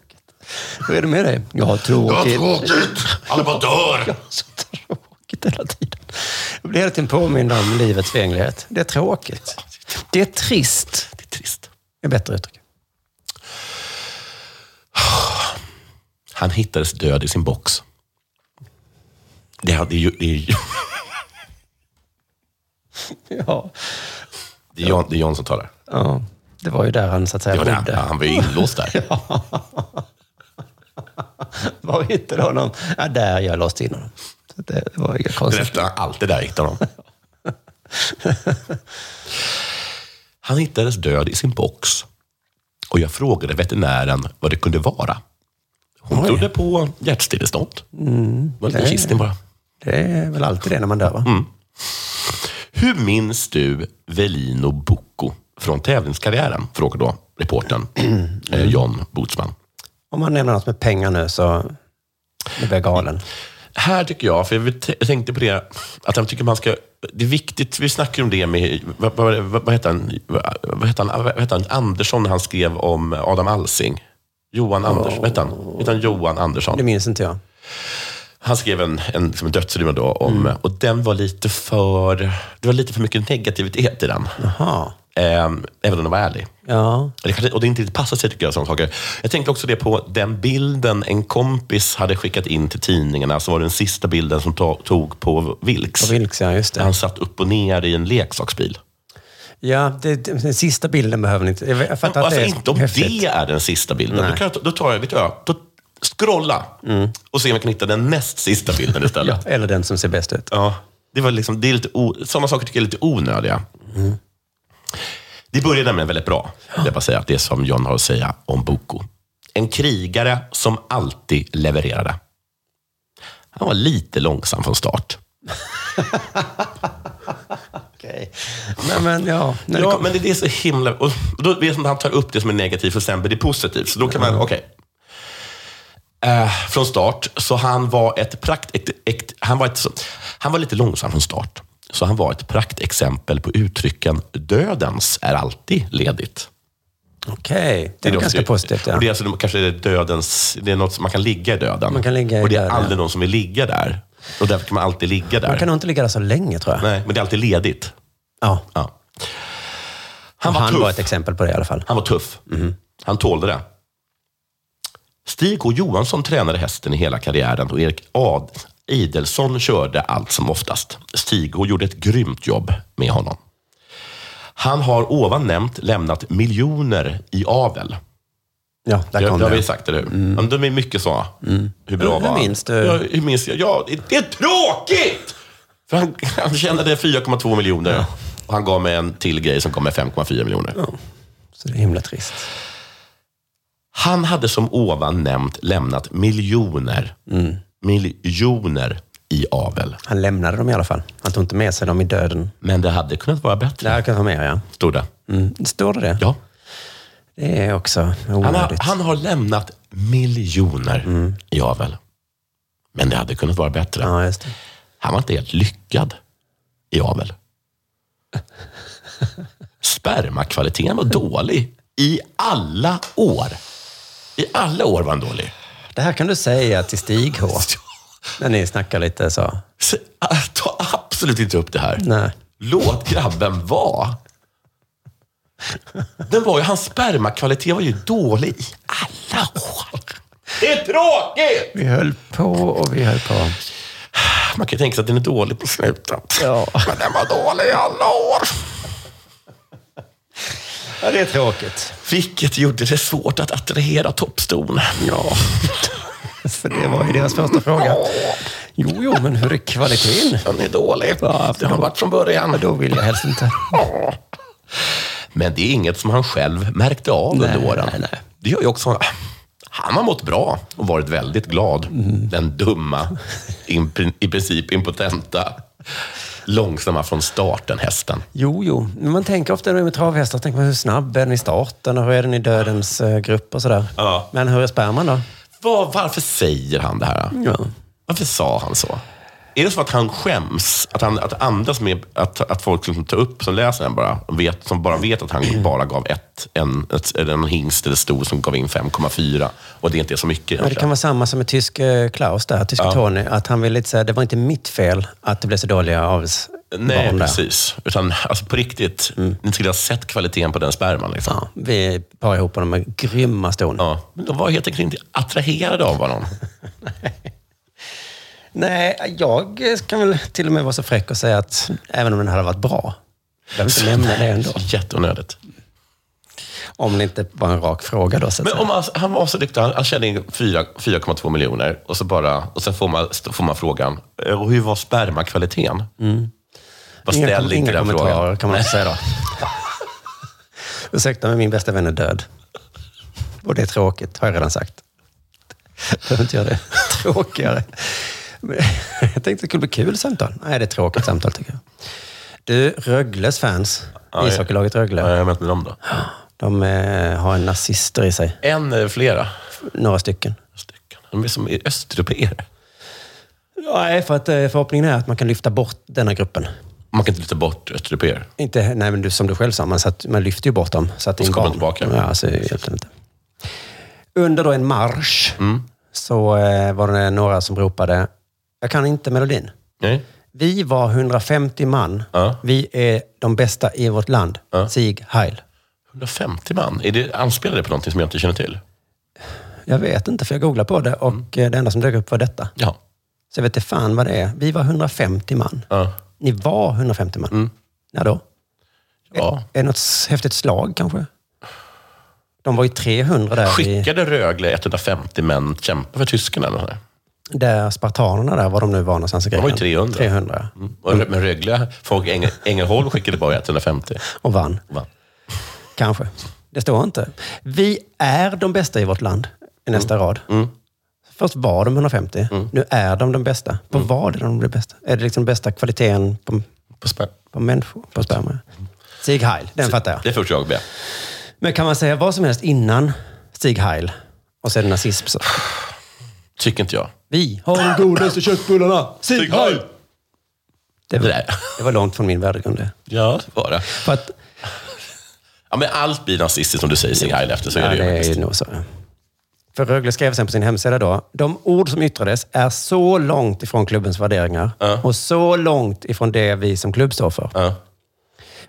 Speaker 2: Hur är det med dig? Jag har tråkigt.
Speaker 5: Det var tråkigt! Alla bara dör!
Speaker 2: Så tråkigt hela tiden. Jag blir hela tiden påmind om livets förgänglighet. Det är tråkigt. Det är trist.
Speaker 5: Det är trist.
Speaker 2: Det är bättre uttryck.
Speaker 5: Han hittades död i sin box. Det hade ju... Det är ju...
Speaker 2: Ja.
Speaker 5: Det är Jan, det är Jan som talar.
Speaker 2: ja. Det var ju där han så att säga
Speaker 5: Det var där.
Speaker 2: bodde.
Speaker 5: Han var ju inlåst där.
Speaker 2: Var hittade honom? Ja, där jag låste in honom. Så Det var ju
Speaker 5: Den
Speaker 2: konstigt.
Speaker 5: efter han alltid där hittade honom. Han hittades död i sin box. Och jag frågade veterinären vad det kunde vara. Hon trodde på hjärtstillestånd.
Speaker 2: Mm.
Speaker 5: Det var en liten kissning bara.
Speaker 2: Det är väl alltid det när man dör, va?
Speaker 5: Mm. Hur minns du Velino Bucco från tävlingskarriären? Frågar då reportern eh, John Botsman.
Speaker 2: Om man nämner något med pengar nu så nu blir jag galen.
Speaker 5: Här tycker jag, för jag vill- jag tänkte på det, att jag tycker man ska... Det är viktigt, vi snackar om det med... Vad, vad, vad, vad hette han? Vad, vad hette han? Vad hette han? Andersson när han skrev om Adam Alsing. Johan Andersson, vad hette han? Hette han Johan Andersson?
Speaker 2: Det minns inte jag.
Speaker 5: Han skrev en, en, liksom en dödsruna då, om, och den var lite för... Det var lite för mycket negativitet i den.
Speaker 2: Jaha.
Speaker 5: Ehm, även om den var ärlig.
Speaker 2: Ja.
Speaker 5: Det kanske, och det inte riktigt passar sig tycker jag, sådana saker. Jag tänkte också det på den bilden en kompis hade skickat in till tidningarna, som var den sista bilden som to- tog på Vilks.
Speaker 2: På Vilks, ja. Just
Speaker 5: Där
Speaker 2: det.
Speaker 5: han satt upp och ner i en leksaksbil.
Speaker 2: Ja, det, det- den sista bilden behöver ni inte... Jag fattar att
Speaker 5: Alltså
Speaker 2: det är
Speaker 5: inte om
Speaker 2: häftigt.
Speaker 5: det är den sista bilden. Då,
Speaker 2: Nej. Mm.
Speaker 5: kan jag, ta- då tar jag, vet jag, då Scrolla och se om jag kan hitta den näst sista bilden istället.
Speaker 2: Eller den som ser bäst ut.
Speaker 5: Ja, det var liksom, det är lite o, sådana saker tycker jag är lite onödiga. Det börjar nämligen väldigt bra. Jag vill bara säga att det är som John har att säga om Boko. En krigare som alltid levererade. Han var lite långsam från start.
Speaker 2: Okej. Nej, men ja. när det
Speaker 5: Ja,
Speaker 2: kom-
Speaker 5: men det är så himla... Och då vet man att han tar upp det som är negativt och sen blir det positivt. Så då kan man,
Speaker 2: Mm.
Speaker 5: okej. Eh, från start, så han var ett prakt... Ett, ett, han, var ett, så- han var lite långsam från start. Så han var ett praktexempel på uttrycken dödens är alltid ledigt.
Speaker 2: Okej, det är
Speaker 5: de-
Speaker 2: ganska positivt. Ja.
Speaker 5: Och det är alltså, de- kanske är dödens... Det är något som man kan ligga i döden.
Speaker 2: Man kan ligga i
Speaker 5: och det är
Speaker 2: döden,
Speaker 5: aldrig
Speaker 2: ja.
Speaker 5: någon som vill ligga där. Och därför kan man alltid ligga där.
Speaker 2: Man kan nog inte ligga där så länge tror jag.
Speaker 5: Nej, men det är alltid ledigt.
Speaker 2: Ja.
Speaker 5: Ja. Han, var,
Speaker 2: han
Speaker 5: tuff.
Speaker 2: var ett exempel på det i alla fall.
Speaker 5: Han var tuff.
Speaker 2: Mhm.
Speaker 5: Han tålde det. Stig K Johansson tränade hästen i hela karriären och Erik Ad Idelsson körde allt som oftast. Stig K gjorde ett grymt jobb med honom. Han har ovan nämnt lämnat miljoner i avel.
Speaker 2: Ja, där
Speaker 5: Det,
Speaker 2: kom
Speaker 5: det har
Speaker 2: det. Mm.
Speaker 5: vi sagt, eller hur? Men de är mycket så. Hur bra
Speaker 2: Hur- hur
Speaker 5: var han?
Speaker 2: minns du?
Speaker 5: Ja, hur minns jag? Ja, det är tråkigt! För han, han tjänade 4,2 miljoner och han gav mig en till grej som kom med 5,4 miljoner.
Speaker 2: Så det är himla trist.
Speaker 5: Han hade som ovan nämnt lämnat miljoner, miljoner i avel.
Speaker 2: Han lämnade dem i alla fall. Han tog inte med sig dem i döden.
Speaker 5: Men det hade kunnat vara bättre,
Speaker 2: Det här kan vara mer, ja.
Speaker 5: stod det.
Speaker 2: Mm. Står det det?
Speaker 5: Ja.
Speaker 2: Det är också
Speaker 5: Han, har,
Speaker 2: onödigt.
Speaker 5: han har lämnat miljoner i avel. Men det hade kunnat vara bättre.
Speaker 2: Ja, just det.
Speaker 5: Han var inte helt lyckad i avel. Spermakvaliteten var dålig i alla år. I alla år var han dålig.
Speaker 2: det här kan du säga till Stig H. När ni snackar lite så.
Speaker 5: Så, äh, Ta absolut inte upp det här.
Speaker 2: Nej.
Speaker 5: Låt grabben vara. Den var ju, hans spermakvalitet var ju dålig i alla år. Det är tråkigt!
Speaker 2: Vi höll på och vi höll på.
Speaker 5: Man kan ju tänka sig att den är dålig på slutet.
Speaker 2: Ja.
Speaker 5: Men den var dålig i alla år.
Speaker 2: Ja, det är tråkigt.
Speaker 5: Vilket gjorde det svårt att attrahera toppston. Ja.
Speaker 2: För det var ju deras första fråga. Jo, jo, men hur är kvaliteten?
Speaker 5: Den är dålig. det har varit från början.
Speaker 2: Då vill jag helst inte.
Speaker 5: Men det är inget som han själv märkte av under
Speaker 2: Nej,
Speaker 5: åren.
Speaker 2: nej, nej.
Speaker 5: Det gör ju också... Han har mått bra och varit väldigt glad. Den dumma, in, i princip impotenta, långsamma från starten hästen.
Speaker 2: Jo, jo. Men man tänker ofta när det är med travhästar, tänker man hur snabb är den i starten och hur är den i dödens eh, grupp och sådär.
Speaker 5: Ja.
Speaker 2: Men hur är sperman då?
Speaker 5: Var, varför säger han det här?
Speaker 2: Ja.
Speaker 5: Varför sa han så? Är det så att han skäms? Att, han, att andas med att, att folk liksom tar upp, som läser den bara, och vet, som bara vet att han bara gav ett, en, ett, eller en hingst eller stor som gav in 5,4 och det inte är så mycket
Speaker 2: Men det kan
Speaker 5: egentligen.
Speaker 2: vara samma som med tysk eh, Klaus där, tysk Tony. Att han ville lite säga, det var inte mitt fel att det blev så dåliga avelsbarn
Speaker 5: Nej,
Speaker 2: där.
Speaker 5: precis. Utan alltså, på riktigt, ni skulle ha sett kvaliteten på den sperman. Liksom. Ja.
Speaker 2: Mm. Ja, vi parar ihop honom med grymma ston.
Speaker 5: Men de var helt enkelt inte attraherade av honom.
Speaker 2: Nej, jag kan väl till och med vara så fräck och säga att även om den hade varit bra, behöver inte nämna det ändå.
Speaker 5: Jätteonödigt.
Speaker 2: Om det inte var en rak fråga då. Så att
Speaker 5: Men
Speaker 2: säga.
Speaker 5: om han, han var så duktig, han, han tjänade in 4 4,2 miljoner och, så bara, och sen får man, får man frågan, "Eh, och hur var spermakvaliteten? Vad
Speaker 2: Mm. Inga-
Speaker 5: ställ
Speaker 2: inga
Speaker 5: inte den
Speaker 2: kommentarer
Speaker 5: frågan.
Speaker 2: kan man också säga då. Ursäkta, men min bästa vän är död. Och det är tråkigt, har jag redan sagt. Behöver inte göra det tråkigare. Men Jag tänkte det skulle bli kul samtal. Nej, det är tråkigt samtal tycker jag. Du, Rögles fans,
Speaker 5: Ja,
Speaker 2: ishockeylaget
Speaker 5: Ja,
Speaker 2: Rögle,
Speaker 5: jag har mött med dem då.
Speaker 2: de eh, har en nazister i sig.
Speaker 5: En eller flera
Speaker 2: Några stycken.
Speaker 5: stycken. De är som östeuropéer.
Speaker 2: Nej, för att eh, förhoppningen är att man kan lyfta bort denna gruppen.
Speaker 5: Man kan inte lyfta bort östeuropéer.
Speaker 2: Inte, nej, men du, som du själv sa, man, satt, man lyfter ju bort dem. Så att det är
Speaker 5: Och så
Speaker 2: en
Speaker 5: kommer
Speaker 2: barn.
Speaker 5: de tillbaka.
Speaker 2: Ja, alltså, egentligen inte. Under då en marsch
Speaker 5: Mm.
Speaker 2: så eh, var det några som ropade, jag kan inte melodin.
Speaker 5: Nej.
Speaker 2: Vi var 150 man.
Speaker 5: Ja.
Speaker 2: Vi är de bästa i vårt land.
Speaker 5: Ja.
Speaker 2: Sieg Heil.
Speaker 5: 150 man. Är det anspelade på någonting som jag inte känner till?
Speaker 2: Jag vet inte, för jag googlade på det och
Speaker 5: Mm.
Speaker 2: eh, det enda som dök upp var detta.
Speaker 5: Ja.
Speaker 2: Så jag vet inte fan vad det är. Vi var 150 man.
Speaker 5: Ja.
Speaker 2: Ni var 150
Speaker 5: Mm.
Speaker 2: man. När då?
Speaker 5: ja.
Speaker 2: Är det något s- häftigt slag kanske? De var ju 300 där. i-
Speaker 5: Skickade Rögle 150 män kämpa för tyskarna? Eller nåt där?
Speaker 2: där spartanerna där, var de nu var någonstans i
Speaker 5: De var ju
Speaker 2: Grekland.
Speaker 5: 300.
Speaker 2: 300.
Speaker 5: Mm. Och Rö- Men Rögle, folk Engel, Ängelholm skickade bara 150.
Speaker 2: Och vann.
Speaker 5: Vann.
Speaker 2: Kanske. Det står inte. Vi är de bästa i vårt land i nästa
Speaker 5: Mm.
Speaker 2: rad. Först var de 150. Nu är de de bästa.
Speaker 5: Mm.
Speaker 2: På vad är de de bästa? Är det liksom bästa kvaliteten på,
Speaker 5: på,
Speaker 2: på människor? På sperma? Stig Heil, den fattar jag.
Speaker 5: Mm. Det förstår jag med.
Speaker 2: Men kan man säga vad som helst innan Stig Heil och sen nazism? Så.
Speaker 5: Tycker inte jag.
Speaker 2: Vi har de godaste köttbullarna! Stig Heil! Det var, det var långt från min värdegrund det.
Speaker 5: Ja, bara.
Speaker 2: För att,
Speaker 5: Ja, men allt blir nazistiskt om du säger Sing Heil efter. Så är
Speaker 2: ja,
Speaker 5: det, ju
Speaker 2: det
Speaker 5: faktiskt.
Speaker 2: är nog så. För Rögle skrev sen på sin hemsida då, de ord som yttrades är så långt ifrån klubbens värderingar och så långt ifrån det vi som klubb står för.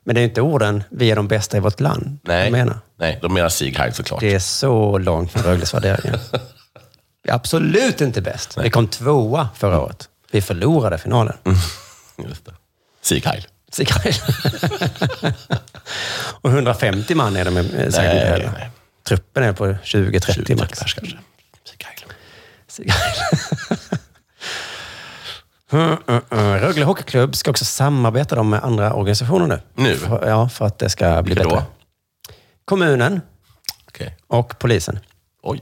Speaker 2: Men det är ju inte orden, vi är de bästa i vårt land,
Speaker 5: Nej.
Speaker 2: de menar.
Speaker 5: Nej, de menar Stig Heil såklart.
Speaker 2: Det är så långt från Rögles värderingar. Vi är absolut inte bäst. Vi kom tvåa förra året. Vi förlorade finalen.
Speaker 5: Mm. Just det. Sieg Heil.
Speaker 2: Sieg Heil. och 150 man är de eh, säkert inte
Speaker 5: Nej,
Speaker 2: heller. Truppen är på 20-30 max. Mm, Pers
Speaker 5: kanske.
Speaker 2: Sieg Heil. Uh, uh, uh. Rögle Hockeyklubb ska också samarbeta de med andra organisationer nu.
Speaker 5: Nu?
Speaker 2: För, ja, för att det ska bli bättre. Kommunen
Speaker 5: Okej.
Speaker 2: och polisen.
Speaker 5: Oj.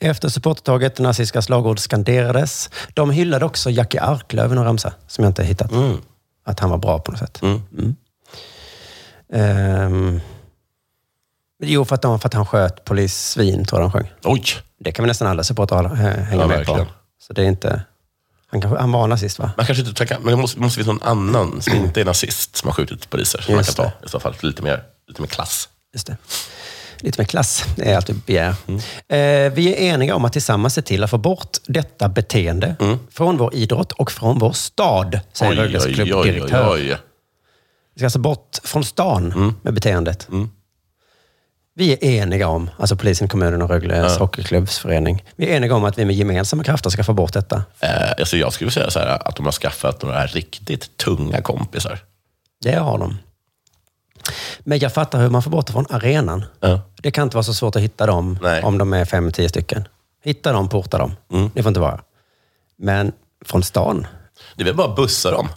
Speaker 2: Efter supportertåget nazistiska slagord skanderades. De hyllade också Jackie Arklöv i någon ramsa, som jag inte hittat.
Speaker 5: Mm.
Speaker 2: Att han var bra på något sätt. Mm. Ehm, jo, för att, de, för att han sköt polissvin, tror jag de sjöng.
Speaker 5: Oj!
Speaker 2: Det kan väl nästan alla supportrar eh, hänga
Speaker 5: Ja,
Speaker 2: med på.
Speaker 5: verkligen.
Speaker 2: Så det är inte... Han, kanske, han var nazist, va?
Speaker 5: Man kanske inte tackar, men det måste, måste finnas någon annan som inte är nazist som har skjutit poliser. Som man kan
Speaker 2: Mm. Just
Speaker 5: ta i så fall. Lite mer, lite mer klass.
Speaker 2: Just det. Lite mer klass, det är allt vi begär.
Speaker 5: Mm.
Speaker 2: Eh, vi är eniga om att tillsammans se till att få bort detta beteende
Speaker 5: Mm.
Speaker 2: från vår idrott och från vår stad, säger Rögles klubbdirektör. Vi ska alltså bort från stan
Speaker 5: Mm.
Speaker 2: med beteendet. Vi är eniga om, alltså polisen, kommunen och Rögles
Speaker 5: Ja.
Speaker 2: hockeyklubbsförening, vi är eniga om att vi med gemensamma krafter ska få bort detta.
Speaker 5: Eh, alltså jag skulle säga så här, att de har skaffat några riktigt tunga kompisar.
Speaker 2: Det har de. Men jag fattar hur man får bort det från arenan. Det kan inte vara så svårt att hitta dem om de är fem, tio stycken. Hitta dem, porta dem.
Speaker 5: Mm.
Speaker 2: Det får inte vara. Men från stan?
Speaker 5: Det är väl bara att bussa dem?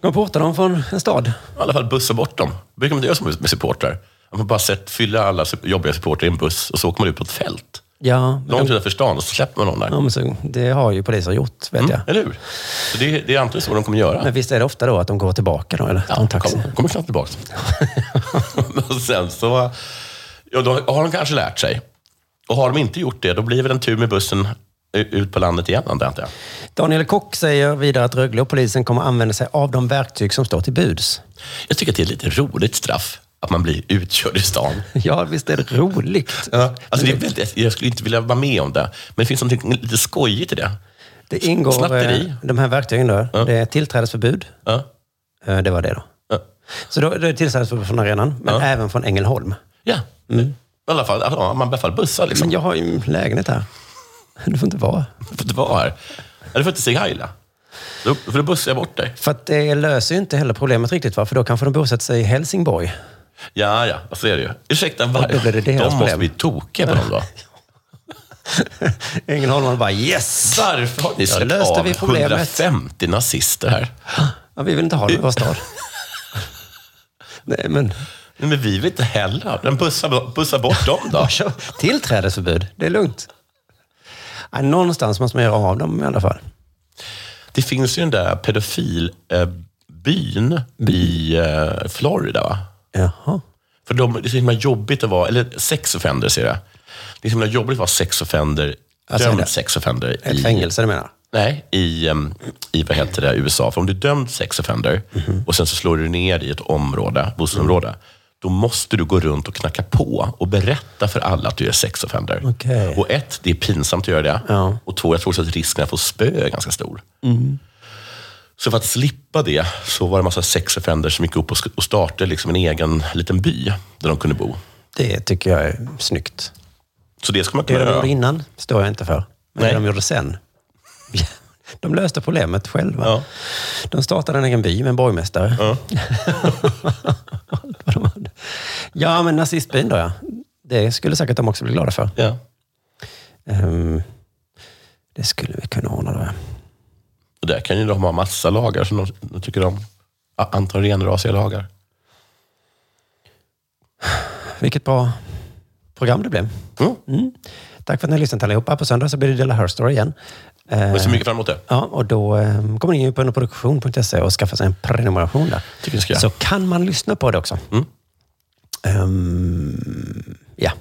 Speaker 2: De portar dem från en stad.
Speaker 5: I alla fall bussa bort dem. Det brukar man inte göra som med med supportrar. Att Man bara sätt, fyller alla sup- jobbiga supportrar i en buss och så åker man ut på ett fält.
Speaker 2: Ja, men,
Speaker 5: Långt
Speaker 2: de,
Speaker 5: utanför stan och så släpper man någon där.
Speaker 2: ja, men så, det har ju poliser gjort, vet jag.
Speaker 5: Eller hur? Så det, det är antagligen så de kommer göra.
Speaker 2: Mm. Men visst är det ofta då att de går tillbaka då, eller? Ja, de
Speaker 5: kommer, kommer knappt tillbaka. och sen så ja, då har de kanske lärt sig. Och har de inte gjort det, då blir väl en tur med bussen u- ut på landet igen, antar jag.
Speaker 2: Daniel Kock säger vidare att Rögle och polisen kommer använda sig av de verktyg som står till buds.
Speaker 5: Jag tycker att det är lite roligt straff, att man blir utkörd i stan.
Speaker 2: Ja, visst är det roligt.
Speaker 5: Ja, alltså det är väldigt, jag skulle inte vilja vara med om det, men det finns något lite skojigt i det.
Speaker 2: Det ingår
Speaker 5: Snatteri.
Speaker 2: eh, de här verktygen då. Det är tillträdesförbud.
Speaker 5: Ja.
Speaker 2: Eh, Det var det då. Så då, det är tillträdesförbud från arenan, men även från Ängelholm.
Speaker 5: Ja,
Speaker 2: Mm.
Speaker 5: i alla fall, ja, man i alla fall bussar liksom.
Speaker 2: Men jag har ju en lägenhet här. Du får inte vara.
Speaker 5: Du får inte vara här. Ja, Du får inte säga heila. Då, för då bussar jag bort dig.
Speaker 2: För att det löser ju inte heller problemet riktigt, va? för då kanske de bosätter sig i Helsingborg.
Speaker 5: Ja, ja, så är det ju. Ursäkta, var,
Speaker 2: då blir det
Speaker 5: de
Speaker 2: deras
Speaker 5: måste
Speaker 2: problem.
Speaker 5: bli tokiga på dem då.
Speaker 2: Ängelholmarna bara yes!
Speaker 5: Varför har ni
Speaker 2: Då
Speaker 5: släppt
Speaker 2: löste
Speaker 5: av
Speaker 2: vi problemet.
Speaker 5: 150 nazister här?
Speaker 2: Ja, vi vill inte ha det i vår stad. Nej, men...
Speaker 5: Nej, Men vi vill inte heller ha dem. Bussa, bussa bort dem då.
Speaker 2: Tillträdesförbud, det är lugnt. Ja, någonstans måste man göra av dem i alla fall.
Speaker 5: Det finns ju den där pedofilbyn i eh, Florida, va?
Speaker 2: Jaha.
Speaker 5: För de, det är så himla jobbigt att vara, eller sex offender ser jag. Det är så himla jobbigt att vara sex offender,
Speaker 2: Alltså, är
Speaker 5: dömd
Speaker 2: det
Speaker 5: sex offender.
Speaker 2: Ett
Speaker 5: i-
Speaker 2: fängelse du menar?
Speaker 5: Nej, i, em, i vad heter det, USA. För om du är dömd sex offender
Speaker 2: Mhm.
Speaker 5: och sen så slår du ner i ett område, bostadsområde,
Speaker 2: Mm.
Speaker 5: då måste du gå runt och knacka på och berätta för alla att du är sex offender.
Speaker 2: Okej.
Speaker 5: Och ett, det är pinsamt att göra det.
Speaker 2: Ja. Mm.
Speaker 5: Och två, jag tror också att risken att få spö är ganska stor. Så för att slippa det så var det en massa sex offender som gick upp och sk- och startade liksom en egen liten by där de kunde bo.
Speaker 2: Det tycker jag är snyggt.
Speaker 5: Så det ska man
Speaker 2: Det
Speaker 5: kunna
Speaker 2: de gjorde
Speaker 5: göra.
Speaker 2: innan står jag inte för. Men
Speaker 5: Nej.
Speaker 2: det de gjorde sen. De löste problemet själva.
Speaker 5: Ja.
Speaker 2: De startade en egen by med en borgmästare. Allt vad de hade. Ja, men nazistbyn då ja. Det skulle säkert de också bli glada för.
Speaker 5: Ja.
Speaker 2: Ehm, det skulle vi kunna ordna då ja.
Speaker 5: Och där kan ju de ha massa lagar som de, de tycker om. A- Antal renrasiga lagar.
Speaker 2: Vilket bra program det blev. Mm. Tack för att ni har lyssnat allihopa. På söndag så blir det Dela Her Story igen. Ehm,
Speaker 5: Jag ser mycket fram emot det.
Speaker 2: Ja, och då eh, kommer ni in på underproduktion.se E och skaffar sig en prenumeration där.
Speaker 5: Tycker jag Mm. ska göra.
Speaker 2: Så kan man lyssna på det också. Ehm, ja.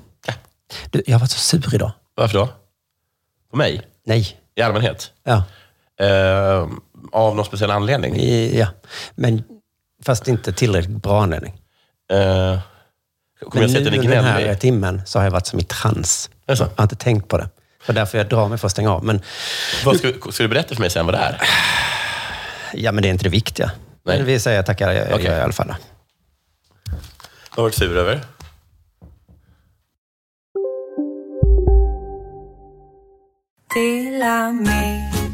Speaker 2: Du, jag har varit så sur idag.
Speaker 5: Varför då? På mig?
Speaker 2: Nej.
Speaker 5: I allmänhet?
Speaker 2: Ja.
Speaker 5: Eh, av någon speciell anledning?
Speaker 2: I, ja. Men fast inte tillräckligt bra anledning.
Speaker 5: Eh, kommer jag
Speaker 2: Men
Speaker 5: säga att
Speaker 2: nu
Speaker 5: den är
Speaker 2: den här
Speaker 5: gnällig?
Speaker 2: timmen så har jag varit som i trans.
Speaker 5: Är det så?
Speaker 2: Jag har inte tänkt på det. Det är därför jag drar mig för att stänga av. Men,
Speaker 5: Vad ska, ska du berätta för mig sen vad det är?
Speaker 2: ja, men det är inte det viktiga.
Speaker 5: Nej.
Speaker 2: Men vi säger tackar jag,
Speaker 5: Okej.
Speaker 2: jag i alla fall.
Speaker 5: Vad har du varit sur över?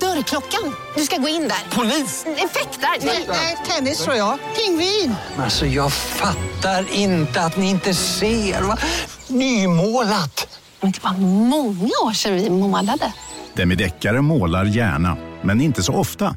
Speaker 13: Dörrklockan. Du ska gå in där. Polis? Effektar? Nej, tennis tror jag. Pingvin.
Speaker 14: Alltså jag fattar inte att ni inte ser. Va? Nymålat!
Speaker 13: Men det var många år sedan vi målade.
Speaker 15: Demideckare målar gärna, men inte så ofta.